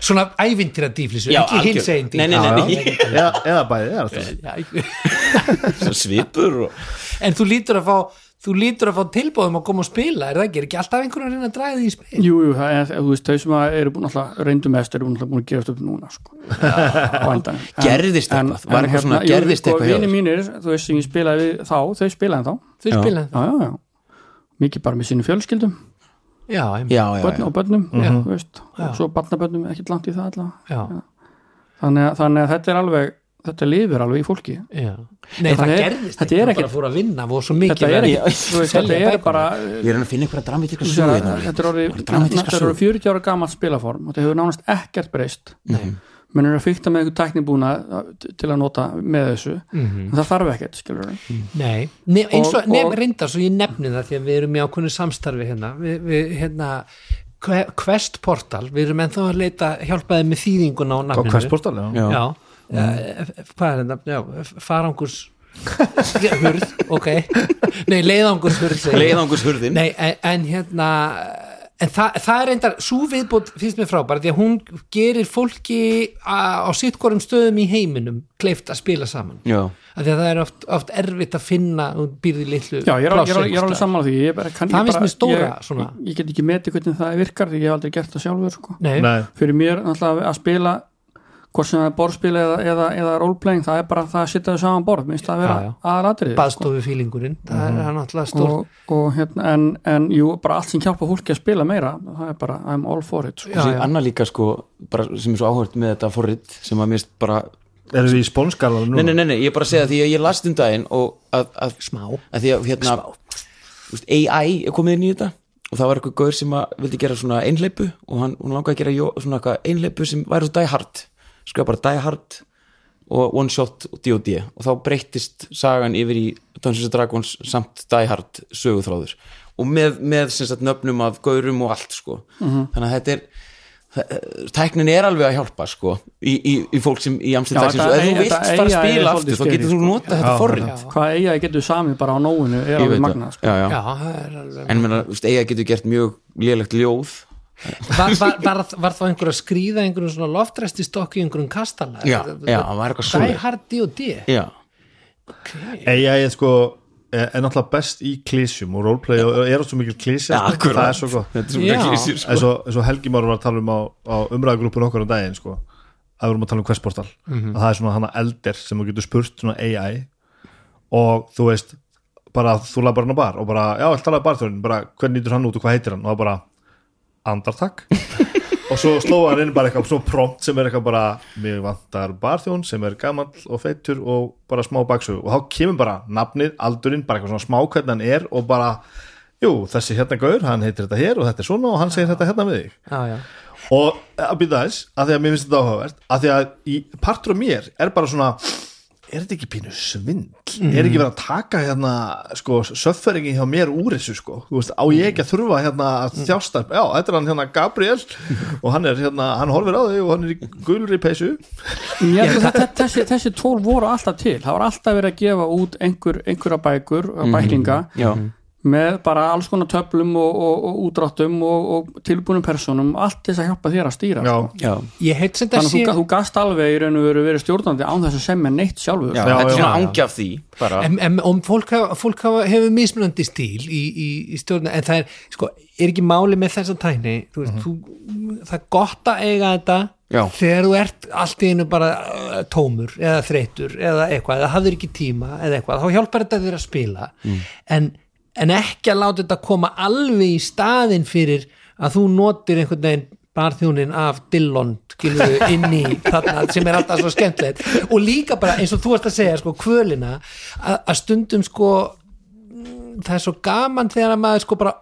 A: svona ævintýra dýflissu
D: Já,
A: ekki hins
D: algjör.
A: einn
D: Nei, nei, nei, nei.
B: eða, eða bæði, eða alltaf
D: Svo svipur og
A: en þú lítur að fá þú lítur að fá tilbóðum að koma og spila er það ekki, er ekki alltaf einhverjum að reyna að draga því í spil
C: Jú, jú, það er, þú veist, þau sem að eru búin alltaf reyndu mest eru náttúrulega búin að gerast upp núna sko, á endan
D: [laughs] Gerðist eitthvað? Var eitthvað
C: hérna,
D: svona, gerðist eitthvað hjá
C: Vini
D: þér?
C: sko, mínir, þú veist, sem ég spilaði við þá, þau spilaði þá
A: þau
D: Já.
A: spila það,
C: Já, já, já, mikið bara með sínu fjölskyldum
A: já, einmitt.
D: já, já,
C: börn
D: já. Mhm.
C: og börnum,
A: Já.
C: þú veist
A: Já.
C: og svo barnabörnum, ekkert langt í það allavega
A: já,
C: þannig, að- þannig að þetta er alveg þetta lifir alveg í fólki
A: já nei,
C: Þetta
A: það
C: er-
A: gerðist
C: þetta
A: ekki,
C: er
A: það
C: ekkert-
A: bara fór að vinna og svo mikið
C: þetta er,
A: verið.
C: ekki, þú veist, þetta
A: Selja
C: er
A: bækurnar.
C: bara
D: Ég er hann að finna einhverja dramatíka
C: þú
D: sögu
C: sér að
D: hérna.
C: þetta er orðið
D: Bara dramatíska
C: þetta er orðið 40 ára gamalt spilaform og þetta hefur nánast ekkert breyst
A: Mhm.
C: menn eru að fykta með einhver tæknibúna til að nota með þessu
A: Mhm.
C: en það þarf ekkert, skilur við
A: Nei, nef, eins og,
C: Og-
A: nefn
C: og-
A: reyndar svo ég nefni það því að við erum í ákveðnu samstarfi hérna við, við hérna Que- Quest Portal, við erum ennþá að leita hjálpaði með þýðinguna á
B: á
A: nafninu
B: hversportal, já
D: Já.
A: Já, mm. hvað er þetta? Já, f- farangurs Já, hurð, ok Nei, leiðangurs hurð segi ég.
D: Leiðangurshurðin
A: Nei, en, en hérna en það, það er reyndar, svo viðbót finnst mér frábæra því að hún gerir fólki á, á sittkorum stöðum í heiminum kleift að spila saman
D: Já,
A: af því að það er oft, oft erfitt að finna og býrði litlu
C: já, ég er, al- ég er, al- ég er
A: plássi
C: alveg sammála því ég, bara- kann,
A: Það
C: ég,
A: finnst
C: bara-
A: mér stóra,
C: ég,
A: svona.
C: ég, ég get ekki metið hvernig það virkar því ég hef aldrei gert það sjálfur sko.
A: Nei,
B: Nei,
C: fyrir mér náttúrulega að spila hvort sem það er borðspil eða, eða, eða roleplaying, það er bara það að sitja þau saman borð minnst það að
A: Já, já.
C: vera aðalatrið
A: baðstofufílingurinn það er hann alltaf stór
C: og, og hérna, en, en jú, bara allt sem hjálpa fólki að spila meira, það er bara I'm all for it, sko.
A: Já,
D: já,
A: já.
D: annar líka sko bara, sem er svo áhört með þetta forrit sem að mér bara,
B: erum við í spónskalanum
D: nei,
B: núna?
D: nei, nei, nei, ég er bara að segja því að ég last um daginn og að, að,
A: smá
D: að því að hérna þú veist, AI er komið inn í þetta og það var eitthvað gaur sem að vildi gera svona einhleipu og hann, hún langaði að gera jó, svona eitthvað einhleipu sem væri svo die hard skrifa bara die hard og one shot og D.O.D. og þá breyttist sagan yfir í Dungeons and Dragons samt die hard söguþráður og með, með sem sagt nöfnum af gaurum og allt sko
C: Mhm.
D: þannig að þetta er það- tæknin er alveg að hjálpa sko í, í, í fólk sem í
C: Já,
D: amstæðdagsins
C: þetta-
D: og ef þú
C: þetta
D: vilt fara að
C: AI er
D: spila
C: svolítið sko.
D: aftur þá getur
C: scary,
D: þú nota þetta forrið
C: hvað eiga að getur samið bara á nóinu er alveg magnað, sko.
D: já, já.
A: Já, það er alveg
D: En meina, þú veist, eiga getur gert mjög lélegt ljóð
A: var, var, var, var þá einhver að skríða einhverjum svona loftresti stokki einhverjum kastala
D: Já, já, það var eitthvað
A: Það er
D: svoleiðis.
A: hardi og di
D: Já,
B: AI er sko er er náttúrulega best í klísjum og roleplay og er svo mikil klísja sko. það er svo gott
D: Þetta er svo
A: Já.
D: mikið klísjur, sko.
B: eins og, eins og Helgi Már var að tala um á, á umræðagrúpun okkar um daginn sko, að við erum að tala um hversportal að það er svona hana eldir sem þú getur spurt svona AI og þú veist bara þú laði bara hann á bar og bara, já, alltaf laði barþjóðin bara, hvernig nýtur hann út og hvað heitir hann og það bara, andartak og svo slóa hann inn bara eitthvað svo prompt sem er eitthvað bara, mig vantar barþjón sem er gamall og feittur og bara smá baksögu og þá kemur bara nafnið, aldurinn, bara eitthvað svona smá hvernig hann er og bara, jú, þessi hérna gaur hann heitir þetta hér og þetta er svona og hann segir þetta hérna við þig
A: Já, já,
B: og eh, að byrja þess, að því að mér finnst þetta áhugavert að því að í partur af mér er bara svona er þetta ekki pínu svindl er
C: Mm.
B: ekki verið að taka hérna sko, söfferingi hjá mér úr þessu sko þú veist, á ég ekki að þurfa hérna að
C: Mm.
B: þjásta já, þetta er hann hérna
C: [laughs]
B: Gabriel og hann er hérna, hann horfir á þau og hann er í gulri peysu
C: Já, þetta, þessi, þessi tól voru alltaf til það var alltaf verið að gefa út einhver, einhverja bækur, bæklinga
D: Já.
C: með bara alls konar töflum og, og, og útráttum og, og tilbúnum personum, allt til þess að hjálpa þér að stýra
B: já,
C: sko.
D: Já.
A: ég heit sem þetta
C: þannig að
A: sé
C: þú, ga- þú gast alveg í raun og veru verið stjórnandi án þess að semja neitt sjálfur
D: Já,
C: sko.
D: þetta
B: já,
D: er svona
B: já.
D: angja af því bara.
A: en, en, og fólk, hafa, fólk hafa, hefur mismunandi stíl í, í, í stjórna en það er, sko, er ekki máli með þessa tækni þú
D: Mhm.
A: veist, þú, það er gott að eiga þetta
D: Já.
A: þegar þú ert allt í einu bara uh, tómur eða þreytur eða eitthvað, eða hafður ekki tíma eða eitthvað, þá hjálpar þetta þér að spila en, en ekki að láta þetta koma alveg í staðin fyrir að þú notir einhvern veginn barþjónin af Dillon skilur inn í þarna sem er alltaf svo skemmtilegt og líka bara eins og þú varst að segja sko kvölina að, að stundum sko það er svo gaman þegar að maður sko bara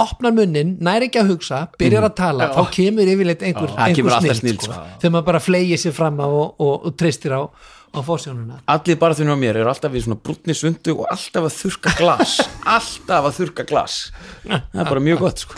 A: opnar munnin, næri ekki að hugsa byrjar
C: Mhm.
A: að tala, þá kemur yfirleitt einhver,
D: Það kemur
A: einhver
D: alltaf
A: snill,
D: snilld,
A: sko.
D: sko.
A: þegar maður bara fleigir sér fram á og, og, og treystir á, á fórsjónuna
D: Allir bara þunni á mér eru alltaf við svona brúnni svundu og alltaf að þurka
A: [laughs]
D: glas Alltaf að þurka glas Það er bara mjög gott sko.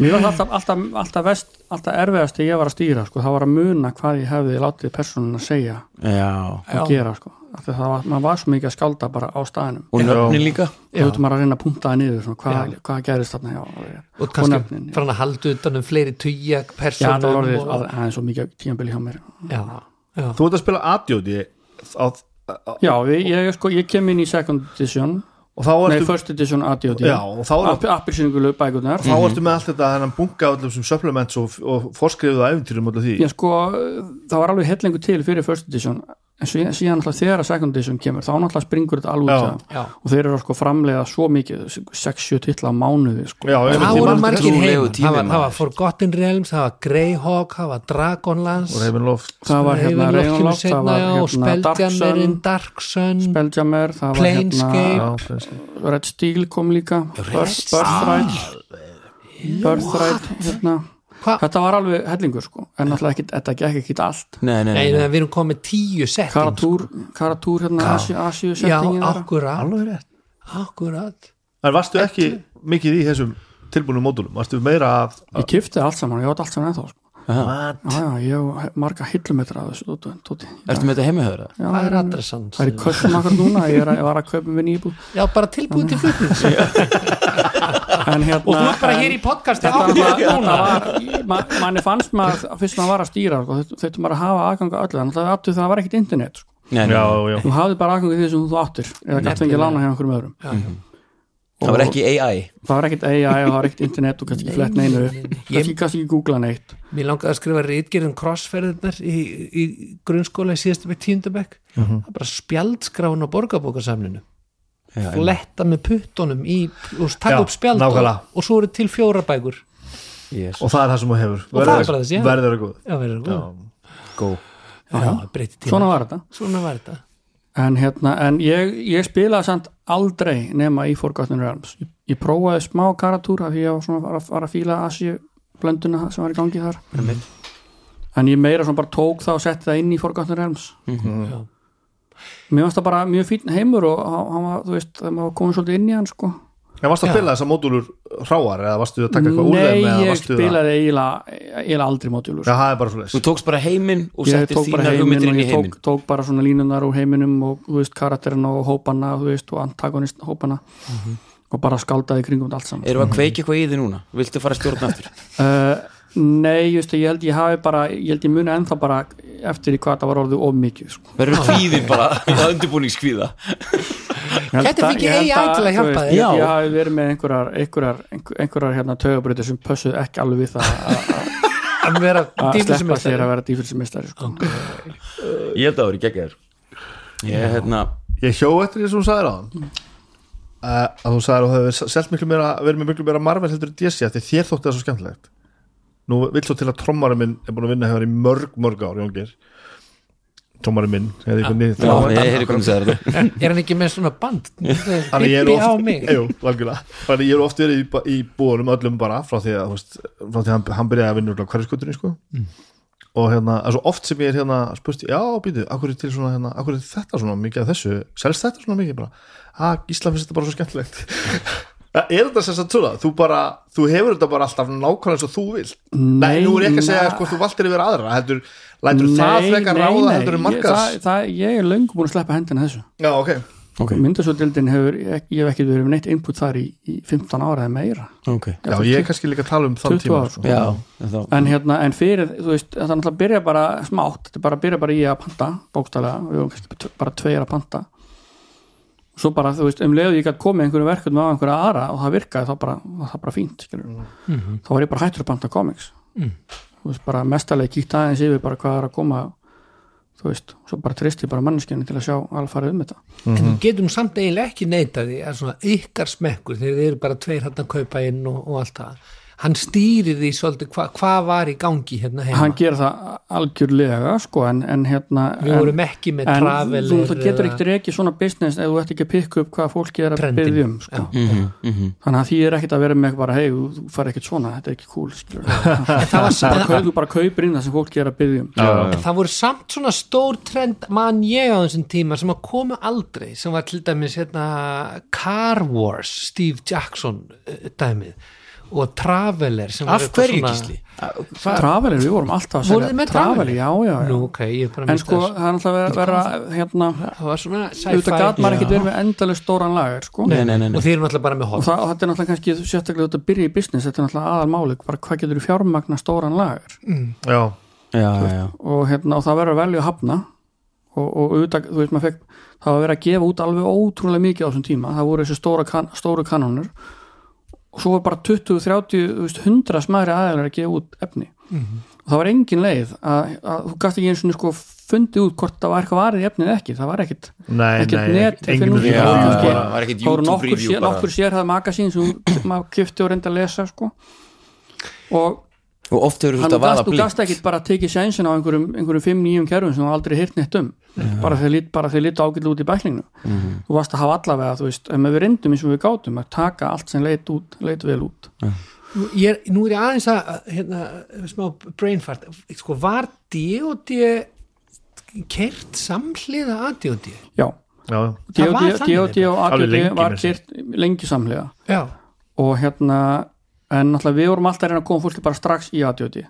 C: Mér var alltaf, alltaf, alltaf vest alltaf erfiðast ég var að stýra sko, það var að muna hvað ég hefði látið persónuna að segja
D: já
C: að
A: Já.
C: gera sko Af því að það var, maður var svo mikið að skálda bara á staðinum
D: og nöfnin líka
C: þú veitum maður að reyna að punta það niður svona, hvað, hvað gerist þarna já, já.
A: og kannski
C: nöfnin, já.
A: farin að halda utan um fleiri tuja
C: já, það var
A: persónum
C: orðið
A: og-
C: að það er svo mikið tímabili hjá mér
A: já, já,
B: Þú ert að spila Adjóti og
C: já, ég, ég, sko, ég kem inn í second edition
B: þá
C: nei,
B: ertu,
C: first edition ADOD
B: já, og þá, er,
C: appisyningulu bækurnar
B: þá ertu með allt þetta hennan bunga öllum sem supplements og, og forskrifuðu æfintýrum öllu því
C: já, sko, það var alveg hellingu til fyrir first edition en síðan, síðan náttúrulega þegar að second edition kemur þá náttúrulega springur þetta alveg
B: Já.
C: út af.
A: já.
C: og þeir eru sko framlega svo mikið 6-7 titla á mánuði sko.
B: Já, ég
A: Það
B: veit, ég
A: voru
B: man
A: margir
D: trúlegu
A: heima,
D: tími,
A: það var, það
D: maður.
A: var Forgotten Realms, það var Greyhawk, það var Dragonlance
B: og reyfin loft
C: það var hérna
A: Ravenloft
C: Reynolds, það
A: kemur seinna,
C: var
A: já, og
C: hérna Dark
A: Spelljammerinn,
C: Sun
A: Dark Sun
C: Spelljammer, það var
A: Planescape.
C: hérna
B: Já, kannski.
C: Red Steel kom líka Birth- Birthright Birthright hérna.
A: Hva-
C: þetta var alveg hellingur sko en náttúrulega ekki, þetta gekk ekki allt
D: nei, nei,
A: Nei,
D: nei, nei.
A: við erum komið tíu setting
C: Karatúr, Karatúr hérna Asíu
A: sko. Já,
C: settingin þeirra.
A: akkurat,
B: Alveg rétt.
A: akkurat
B: En varstu ekki mikið í þessum tilbúinu módulum? Varstu meira að
C: ég kifti allt saman, ég átt allt saman ennþá sko.
B: What?
C: já, já, ég hef marga hillumetra af þessu Dóti, Dóti.
D: ertu með þetta heimahöður
C: Já,
A: Hvað er
C: en-
A: adressans?
C: það er í kössum akkur núna ég, er, að- ég var að kaupa minn íbúð
A: Já, bara tilbúið til flutnings
C: en hérna
A: Og þú ert bara
C: en-
A: hér í podcasti
C: þetta
A: áfram
C: var, þetta
A: núna.
C: var ma, manni fannst maður fyrst maður var að stýra sko, þau- þau maður að hafa aðganga öllu en það, aftur, það var ekkit internet sko.
B: Já,
D: það
B: já,
C: þú hafði bara aðganga því sem þú áttir eða gætt fengið lána hjá einhverjum öðrum
D: var ekki AI
C: það var ekkit AI, það var ekkit internet og kannski ekki flett neinu kannski, kannski ekki googla neitt
A: Mér langaði að skrifa rítgerðum crossferðirnar í, í grunnskóla í síðasta bekk tíundabekk Það er bara spjaldskráin á borgarbókasamlinu
D: Já,
A: fletta með puttunum í, og taka
B: Já,
A: upp spjald og,
B: nákvæmlega.
A: og svo eru til fjóra bækur
D: yes.
B: og það er það sem þú hefur
A: Og það er bara þessi, já.
B: Verður að góð
A: Já, verður góð
D: Go.
A: Já, já, breytti tíma
C: svona var þetta
A: Svona var þetta
C: en, hérna, en ég, ég spilaði samt aldrei nema í Forgotten Realms ég, ég prófaði smá karatúr af því ég var, svona, var, að, var að fíla Asíu blönduna sem var í gangi þar
D: Einmitt.
C: en ég meira svona bara tók það og setti það inn í Forgotten Realms
A: Já.
C: mér varst það bara mjög fínn heimur og hann hann var, þú veist, það maður komið svolítið inn í hann sko
B: En varstu að spila þessar módulur hráar eða varstu að taka eitthvað úr
C: Nei,
B: þeim eða
C: ég
B: varstu að-
C: spilaði eiginlega, eiginlega aldrei módjúlu
B: Já, það er bara svo
D: þú tókst bara heiminn og
C: ég
D: settir
C: tók bara
D: þína
C: heiminn
D: hugmyndir
C: og
D: inn
C: ég
D: í
C: tók,
D: heiminn
C: tók bara svona línunar úr heiminum og þú veist karakterinn og hópana þú veist, og antagonist hópana Mhm. og bara skáldaði kringum þetta allt saman
D: erum við að kveiki eitthvað í því núna viltu fara að stjórna aftur
C: uh, Nei, just, ég held ég hafi bara ég held ég muni ennþá bara eftir í hvað þetta var orðið of mikið sko.
D: [laughs] verður kvíðin bara að undirbúningskvíða
C: Ég held
A: Gæti
C: að-
A: fengið
C: ég held
A: AI til að hjálpa
C: þú veist,
A: þér.
C: Ég,
D: Já.
C: ég hafi verið með einhverjar einhverjar, einhver- einhverjar hérna tögabröður sem pössuð ekki alveg við það að-
A: Að vera
C: að sleppa sér
A: dýflismestari
C: að vera dýfilsumistari sko.
D: ég held að það voru geggjær ég hérna
B: leiðis Ég hjó eftir því sem þú sagðir á hann Eh, að þú sagðir að þú hefur selt miklu meira verið með miklu meira marvel heldur en DC af því þér þótti það svo skemmtilegt Nú vill svo til að trommari minn er búin að vinna hefur í mörg, mörg ár, Jóngir Trommari minn, hefði
A: Ah.
B: ykkur nýtt
D: já, ég heyri hvernig það er hérna- þetta
A: Er hann ekki með svona band?
B: Þannig ég er
A: Bippi á mig
B: oft, jú, algjörlega. Þannig ég er oft verið í, ba- í búanum öllum bara frá því að, þú veist, frá því að hann, hann byrjaði að vinna úr hverfskutunni sko. og hérna, það er svo oft sem ég er hérna spurt, já, býtu, akkur er til svona hérna, akkur er þetta svona mikið af þessu, selst þetta svona mikið bara, að Gísla finnst þetta bara svo skemmtilegt [laughs] er þetta sem sagt svona þú bara, þú hefur þetta bara alltaf nákvæmlega eins og þú vilt, nei, nú er ég ekki að segja
C: na-
B: hvort þú valdir yfir aðra, heldur lætur það frekar ráða, heldur
C: ég,
B: markas
C: það, það, ég er löngu búin að sleppa hendina þessu
B: já, ok,
D: okay.
C: myndasöldildin hefur, ég, ég hef ekki verið með neitt input þar í, í 15 ára eða meira
D: Okay.
B: já, ég er kannski líka að tala um þann
C: 20
B: tíma,
C: ár,
B: sko.
D: Já, þá,
C: en hérna, en fyrir, þú veist þetta náttúrulega byrja bara smátt, þetta bara byrja bara í að panta, bókstælega, við vorum kannski t- bara tveir að panta svo bara, þú veist, um leiðu ég gætt komið einhverjum verkefnum á einhverja aðra og það virkaði þá bara, var það bara fínt, skilur þá var ég bara hættur að panta komiks þú veist, bara mestalegi kíkt aðeins yfir bara hvað er að koma þú veist, svo bara tristi bara manneskjunni til að sjá alfarið um þetta
A: En við getum samt eiginlega ekki neita því að svona ykkar smekkur þegar þið eru bara tveir hann að kaupa inn og, og allt það hann stýrir því svolítið hva- hvað var í gangi hérna heima
C: hann gerir það algjörlega sko, en, en hérna
A: Við
C: en,
A: vorum ekki með
C: en
A: traveler
C: þú, þú getur
A: eða-
C: ekkert ekki svona business ef þú ert ekki að pikka upp hvað fólki er að
A: Trendin.
C: byrja um sko.
D: Mhm.
C: þannig að því er ekkert að vera með bara hei, þú fari ekkert svona, þetta er ekki cool skilur
A: [laughs]
C: við."
A: það var
C: bara,
A: samt-
C: kaup- þú bara kaupir inn það sem fólki er að byrja um já,
A: En það voru samt svona stór trend mann ég á þessum tíma sem að koma aldrei sem var til dæmis hérna Car Wars Steve Jackson eh, dæmið og Traveler sem var
D: af
A: eitthvað
D: hverju
A: svona-
D: Gísli?
C: Traveler, við vorum alltaf að
A: Voruð
C: selja
A: þið með Traveler?
C: já, já, já
A: Nú, ok, ég er bara að
C: en
A: mista
C: sko,
A: þessu.
C: það er náttúrulega að vera hérna,
A: það var svona
C: auðvitað gat
A: sci-fi
C: maður ekkert verið með endalist stóran lagar, sko
D: Nei, nei, nei,
A: og
D: nei.
A: þeir eru náttúrulega bara með
C: og
A: hot
C: það, þetta er náttúrulega kannski sérstaklega út að byrja í business, þetta er náttúrulega aðalmáli bara hvað getur þú fjármagna stóran lagar
B: já,
D: Já, já,
C: og, hérna, og það verður að velja að hafna og, og auðvitað, þú veist maður fekk það var verið að gefa út alveg ótrúlega mikið á þessum tíma það voru þessi stóra kan, stóru kanónur og svo var bara 20, 30, þú veist, 100 smæri aðeinar að gefa út efni og það var engin leið að, að þú gast ekki eins og sko fundið út hvort það var eitthvað varið í efnið eða ekki, það var ekkit
B: nei,
C: Ekkert
B: nei
C: net,
B: engin
C: finnum
B: myndi-
C: við-
D: já,
B: Já,
C: kannski-
D: bara- var ekkert
C: það voru
D: YouTube
C: nokkur,
D: review
C: sér,
D: bara.
C: nokkur sérhæð magasín sem þú- maður kifti og reyndi að lesa sko. og
D: og oft hefur þú
C: hann
D: þurft að vaða
C: gast, þú
D: blík
C: gast ekki bara að tekið sænsin á einhverjum, einhverjum 5-9 kerfum sem þú aldrei hýrt neitt um bara þeir lít, bara þeir lít ágætlu út í bæklinginu
D: Mhm.
C: þú varst að hafa allavega, þú veist en við reyndum eins og við gátum að taka allt sem leit út, leit vel út
A: Nú, ég er, nú er ég aðeins að að, hérna, smá brainfart sko, var D.O.D. kert samhliða að D.O.D.
C: já,
B: já,
A: Það var
C: D.O.D.
A: þannig
C: D.O.D. og
B: þetta. Alveg lengi
C: A.D.D. var
B: með sér.
C: kyrt lengi samlega
A: já,
C: og hérna en náttúrulega við vorum alltaf að reyna að koma fólki bara strax í A.D.O.D.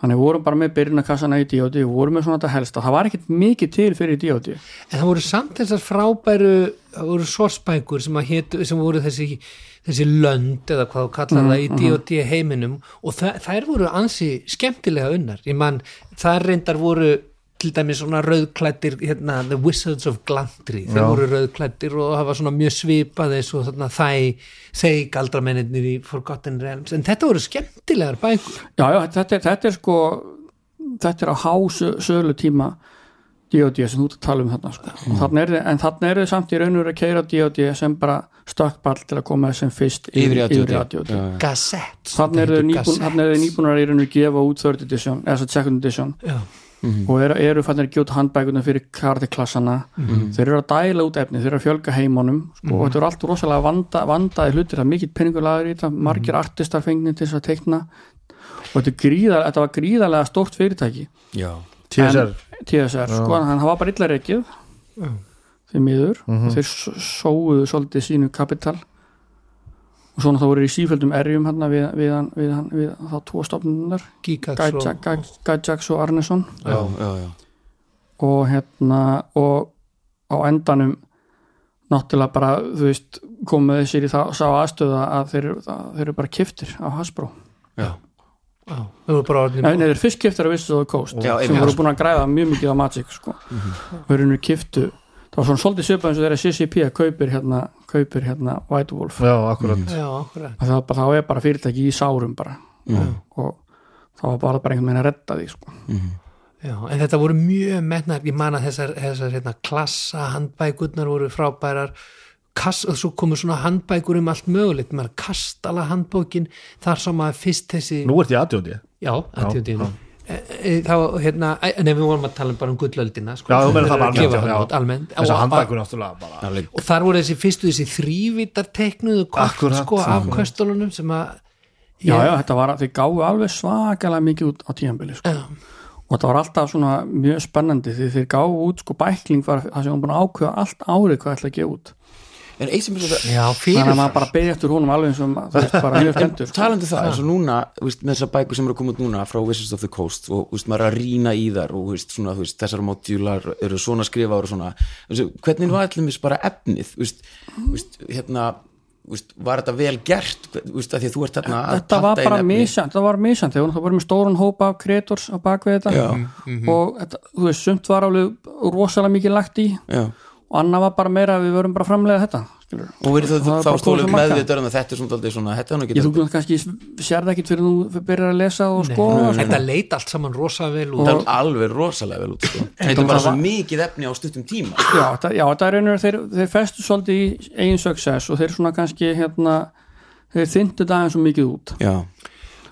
C: Þannig við vorum bara með byrjunarkassana í D.O.D. við vorum með svona þetta helsta, það var ekkert mikið til fyrir D.O.D.
A: en það voru samt þessar frábæru það voru sorsbækur sem, að hétu, sem voru þessi, þessi lönd eða hvað þú kallar
C: Mm,
A: það í
C: mm-hmm.
A: D.O.D. heiminum og þa þær voru ansi skemmtilega unnar, ég man þar reyndar voru til dæmis svona rauðklættir hérna, The Wizards of Glandri þeir
B: Já.
A: voru rauðklættir og það var svona mjög svipað eins og þarna þæ þeir galdramennir í Forgotten Realms en þetta voru skemmtilegar bækur
C: Já, já, þetta er, þetta er sko þetta er á hásölu tíma D.O.D. sem þú ert að tala um þarna sko. mm. þarna er, þið- en þarna eru þið samt í raunur að keira D.O.D. sem bara stökkball til að koma sem fyrst
D: yfir í
C: yfir í
D: aðdjóti
C: ADOD.
A: Gazette
C: Þarna eru þau nýbún-
A: Gazette.
C: þarna eru þau nýbúnar að í raunur gefa út third edition, eða svo second edition
A: Já.
C: og eru, eru fannir að gjóta handbækuna fyrir kartiklassana þeir eru að dæla út efni, þeir eru að fjölga heimunum sko, og þetta eru allt rosalega vanda, vandaði hlutir það er mikill peningulagur í þetta, margir artistar fengnir til þess að teikna og þetta, er gríðar, þetta var gríðarlega stórt fyrirtæki
D: já,
B: TSR
C: en, TSR sko, en hann hafa bara illa reikið þeir miður og þeir s- sóuðu svolítið sínu kapital og svona þá voru þeir í sífjöldum erjum hérna við, við, hann, við, hann, við þá tvo stofnunar
A: Gigax og-
C: Gajax og Arneson
D: já, já, já.
C: og hérna og á endanum náttúrulega bara, þú veist komuðu sér í það, sá aðstöða að þeir, eru- að þeir eru bara kiftir af Hasbro
A: Já, þau voru bara orðnir
C: Nei, nei, þeir fyrst kiftir af Wizards of the Coast
D: Já,
C: sem
D: einmitt.
C: voru búin að græða mjög mikið á Magic sko. mm -hmm. verðinu kiftu það var svona svolítið svipað eins og þeirra CCP að kaupir hérna, kaupir hérna White Wolf
B: já, akkurat
A: Já, akkurat
C: það, var bara, það er bara fyrirtæki í sárum bara og það var bara, bara einhvern veginn að redda því sko.
A: Já, en þetta voru mjög metnar, ég man að þessar, þessar hérna, klassa handbækurnar voru frábærar Kass, og svo komu svona handbækur um allt mögulegt maður kastala handbókin þar sá maður fyrst þessi
B: nú ert ég aðdjóti já,
A: já, aðtjóðinu þá hérna, æ, nei við vorum að tala um bara um gullöldina sko,
B: þú meina
A: Þeir
B: það
A: eru
B: bara
A: að gefa
B: um almennt,
A: þarna
B: já.
A: út, almennt
B: þessa
A: Og-
B: handbækur náttúrulega bara
D: alveg
A: og þar voru þessi fyrstu þessi þrývitar teknuðu kort
B: Akkurat,
A: sko af
B: akkurat.
A: köstolunum sem að
C: já, já, þetta var, þeir gáðu alveg svakalega mikið út á tíðanbili sko.
A: Já.
C: og þetta var alltaf svona mjög spennandi því þeir gáðu út, sko, bækling var það sem var búin að ákveða allt árið hvað ætla að gefa út
D: en eitt sem er
A: já,
D: svo
C: þannig að
A: fyrir
C: maður bara beði eftir honum alveg eins og maður, þú veist, bara
D: [laughs]
C: mjög skemmtur sko.
D: talandi um það, eins og núna, þú veist, með þessar bækur sem eru að koma út núna frá Wizards of the Coast og þú veist, maður er að rýna í þar og þú veist, svona, þú veist, þessar módjúlar eru svona skrifaður og svona, þú veist, hvernig var allir mis bara efnið, þú veist, þú veist hérna, þú veist, var þetta vel gert, þú veist, að því að þú ert þarna að
C: þetta var
D: panta inn
C: bara
D: efni.
C: misjant, þetta var misjant þegar það voru með stórun hópa af kreators á bakvið þetta
D: Já.
C: og þetta, þú veist, sumt var alveg rosalega mikið lagt í
D: Já.
C: og annað var bara meira að við vorum bara að framlega þetta skilur.
D: og verið
C: Það
D: þú
C: var
D: þá
C: bara
D: stólu
C: komið svo markað.
D: meðvitaður en um þetta er svona daldið svona, þetta er nú ekki
C: ég þú veist kannski sér það ekkit fyrir þú byrjar að lesa og skoða sko.
A: þetta leit allt saman rosa vel út
D: þetta er alveg rosalega vel út sko. þetta er bara svo mikið efni á stuttum tíma
C: já, þetta, já, þetta er einhver þeir, þeir festu svolítið í eigin success og þeir svona kannski hérna þeir þyndu daginn svo mikið út
D: já,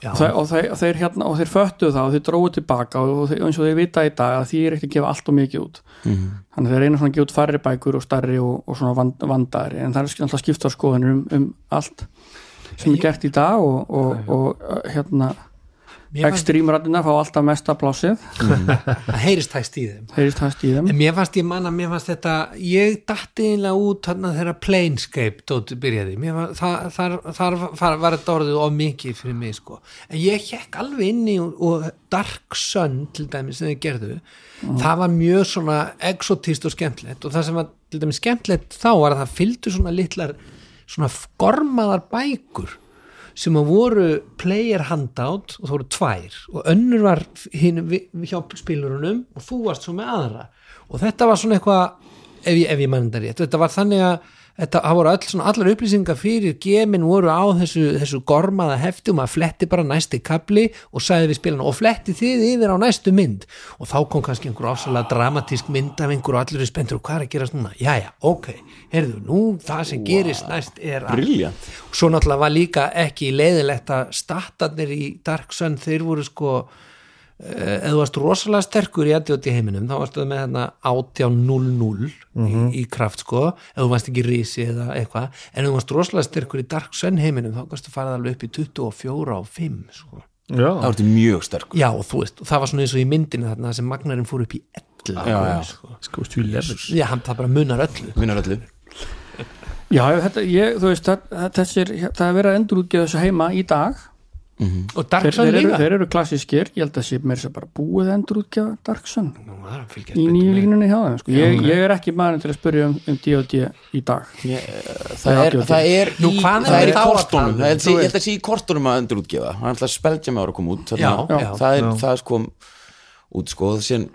A: Já.
C: og þeir, og, þeir, og, þeir, hérna, og þeir föttu það og þeir dróðu tilbaka og, og þeir, eins og þeir vita í dag að því er ekki að gefa allt og mikið út
A: Mhm.
C: þannig að þeir reyna svona að gefa út færri bækur og starri og, og svona vand, vandari en það er alltaf skiptar skoðanir um, um allt sem er gert í dag og, og, og hérna
A: Mér fannst-
C: Extreme rættina fá alltaf mesta plásið
A: það heyrist hægst í þeim
C: heyrist hæst í þeim
A: en mér fannst ég manna, mér fannst þetta ég datti einlega út þarna þegar Planescape dótt byrjaði Mér var, þar, þar, þar var, var þetta orðið of mikið fyrir mig sko, en ég hekk alveg inni og, og Dark Sun til dæmis sem þið gerðu, það var mjög svona exotist og skemmtlegt og það sem var til dæmis skemmtlegt þá var að það fylgdu svona litlar svona gormaðar bækur sem að voru player handout og það voru tvær og önnur var hinn vi- hjá spilurunum og þú varst svo með aðra og þetta var svona eitthvað ef ég, ef ég mann þetta rétt, þetta var þannig að þetta það voru all, svona, allar upplýsingar fyrir gemin voru á þessu, þessu gormaða hefti og maður fletti bara næsti kapli og sagði við spilana og fletti þið yfir á næstu mynd og þá kom kannski einhver ofsalega dramatísk mynd af einhver og allir eru spenntur og hvað er að gerast núna jæja, ok, heyrðu, nú það sem gerist næst er að
D: Brilliant.
A: svo náttúrulega var líka ekki leiðilegt að statarnir í Dark Sun þeir voru sko eh, ef þú varst rosalega sterkur í ADOT heiminum þá varstu með hérna 18.00
D: Mhm.
A: í, í kraft sko ef þú varst ekki risi eða eitthvað en ef þú varst rosalega sterkur í Dark Sun heiminum þá varstu farið alveg upp í 24 og 5 sko.
D: það
B: já,
D: ertu mjög sterkur
A: já og þú veist, og það var svona eins og í myndinu þarna sem Magnarinn fór upp í 11
D: Já, já.
A: sko.
B: sko stjúlefus
A: já, hann það bara munar öllu
D: Minnar öllu
C: já, þetta, ég, þú veist, það, það- þessir það er verið að endurútgefa þessu heima í dag
A: og Dark
C: þeir,
A: Sun
C: þeir, eru,
A: líka
C: þeir eru klassískir, ég held að sé mér sem bara búið að endurútgefa Dark Sun
A: Nú, það er að fylgjast
C: í
A: betur
C: nýju
A: með.
C: línunni hjá þeim sko. ég, ég er ekki maður til að spyrja um, um D.O.D. í dag
D: Það er, það er í,
A: Nú, hvað
D: það
A: er
D: er í
A: þá að tala
D: kortunum
A: um?
D: Það er,
A: Þú
D: ég held að sé í kortunum að endurútgefa Það er alltaf spelgja með ára að koma út þarna.
A: Já, já.
D: Það er, það er sko út sko síðan,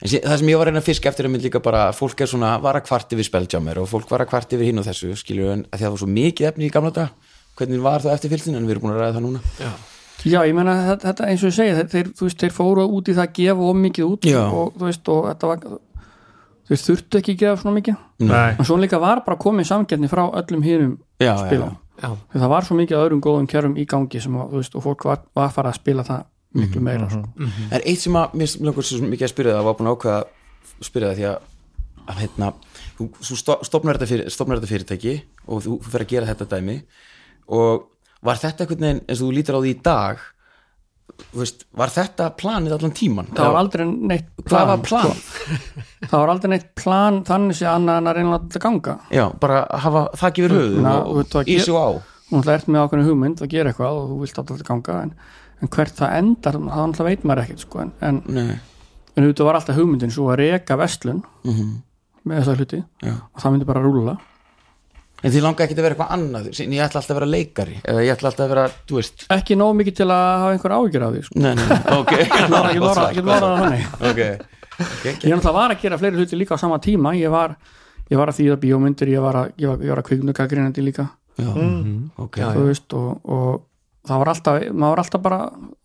D: en síðan, það sem ég var að reyna að fiska eftir er mynd líka bara, að fólk er svona, var að kvart yfir spelgjammer og fólk var að kvart yfir hinn og þessu skilur en að því að það var svo mikið efni í gamla dag hvernig var það eftirfylgsin en við erum búin að ræða það núna
C: Já, ég meina þetta- þetta eins og ég segi þeir, þeir, þú veist, þeir fóru út í það að gefa of mikið út
D: Já.
C: og þú veist og þetta var þeir þurftu ekki að gefa svona mikið
A: Mm.
B: nei,
C: og svo líka var bara komið samgjarni frá öllum hinum
D: Já, já,
C: spilum
A: Já.
C: það var svo mikið af öðrum góðum kjörum í gangi sem, að, þú veist, og fólk var, var farið að spila það
A: Mhm,
C: miklu meira sko.
D: Það er Mm. eitt sem að mér langar svo mikið að spyrja það var búin að ákveða að spyrja það því að, að hérna, þú, þú sto- stofnar þetta, fyrir, stofnar þetta fyrirtæki og þú fer að gera þetta dæmi og var þetta einhvern veginn eins og þú lítur á því í dag þú veist, var þetta planið allan tíman?
C: það var aldrei neitt
D: Hvað
C: plan,
D: var plan?
C: það var aldrei neitt plan þannig sé annað en að reyna að láta þetta ganga
D: Já, bara að hafa þakki yfir höfuð
C: Na,
D: og,
C: þú veist, það
D: og í
C: ger-
D: sig á
C: þú náttúrulega ert með ákveðinu hugmynd að gera eitthvað og þú vilt alltaf ganga en, en hvert það endar, það náttúrulega veit maður ekkert sko, en, en,
D: Nei,
C: en auðvitað var alltaf hugmyndin svo að reka vestlun
D: mhm,
C: með þessa hluti
D: já.
C: og það myndi bara rúla
D: En því langa ekki að vera eitthvað annað sín ég ætla alltaf að vera leikari eða ég ætla alltaf að vera, þú veist
C: ekki nóg mikið til að hafa einhver ágjur af því sko.
D: Nei, nei,
C: [laughs]
D: [laughs] ok
C: Ég var- ég var- ég var að þannig
D: Ok,
C: ég náttúrulega var að gera fleiri hluti líka á sama tíma ég var, ég var að þýða bíómyndir ég var að, ég var, ég var að kvikmyndugagrinandi líka
D: já,
C: Mm-hmm.
D: ok
A: Já,
C: þú veist og, og það var alltaf, maður var alltaf bara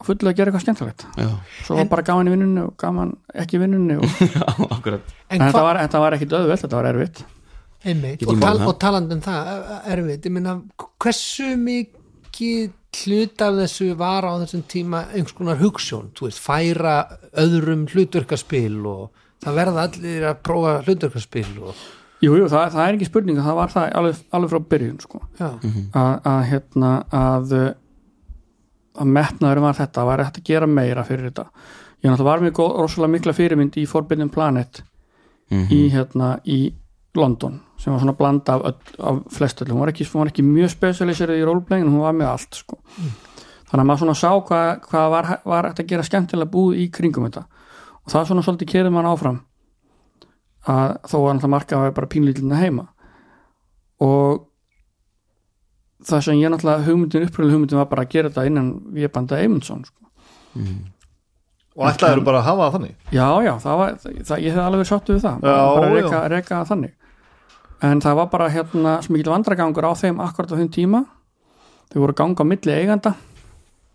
C: fullið að gera eitthvað skemmtilegt
D: Já,
C: svo var bara gaman í vinnunni og gaman ekki í vinnunni og, en,
D: Já, akkurat
A: en
C: þetta
A: hvað
C: var, þetta var ekkit auðvelt, þetta var erfitt
A: Einmitt,
D: Get
A: og,
D: ég
A: tal,
D: málað það?
A: og talandi um það erfitt, ég meina hversu mikið hlut af þessu var á þessum tíma einhvers konar hugssjón, þú veist, færa öðrum hlutverkaspil og það verða allir að prófa hlutverkaspil og
C: jú, jú, það, það er ekki spurning það var það alveg, alveg frá byrjun sko.
A: já,
C: að, að hérna að uh, að metnaður var þetta, var þetta að gera meira fyrir þetta ég náttúrulega var mjög góð, rosalega mikla fyrirmynd í Forbidden Planet í hérna í London sem var svona blanda af, öll- af flestöldum, hún var ekki, hún var ekki mjög specialiserið í roleplaying, en hún var með allt sko. þannig að maður svona sá hvað, hvað var, var hægt að gera skemmtilega búið í kringum þetta og það svona svolítið kerið mann áfram að þó að náttúrulega marka var bara pínlítilina heima og það sem ég náttúrulega hugmyndin uppröðlega hugmyndin var bara að gera þetta innan Vébanda Eymundsson sko.
B: og ætlaður bara að hafa það þannig
C: já, já, það var, það, ég hef alveg verið sáttu við það
B: Já,
C: bara
B: já.
C: reka, reka það þannig en það var bara hérna sem mikil vandragangur á þeim akkurat á þeim tíma þau voru að ganga á milli eiganda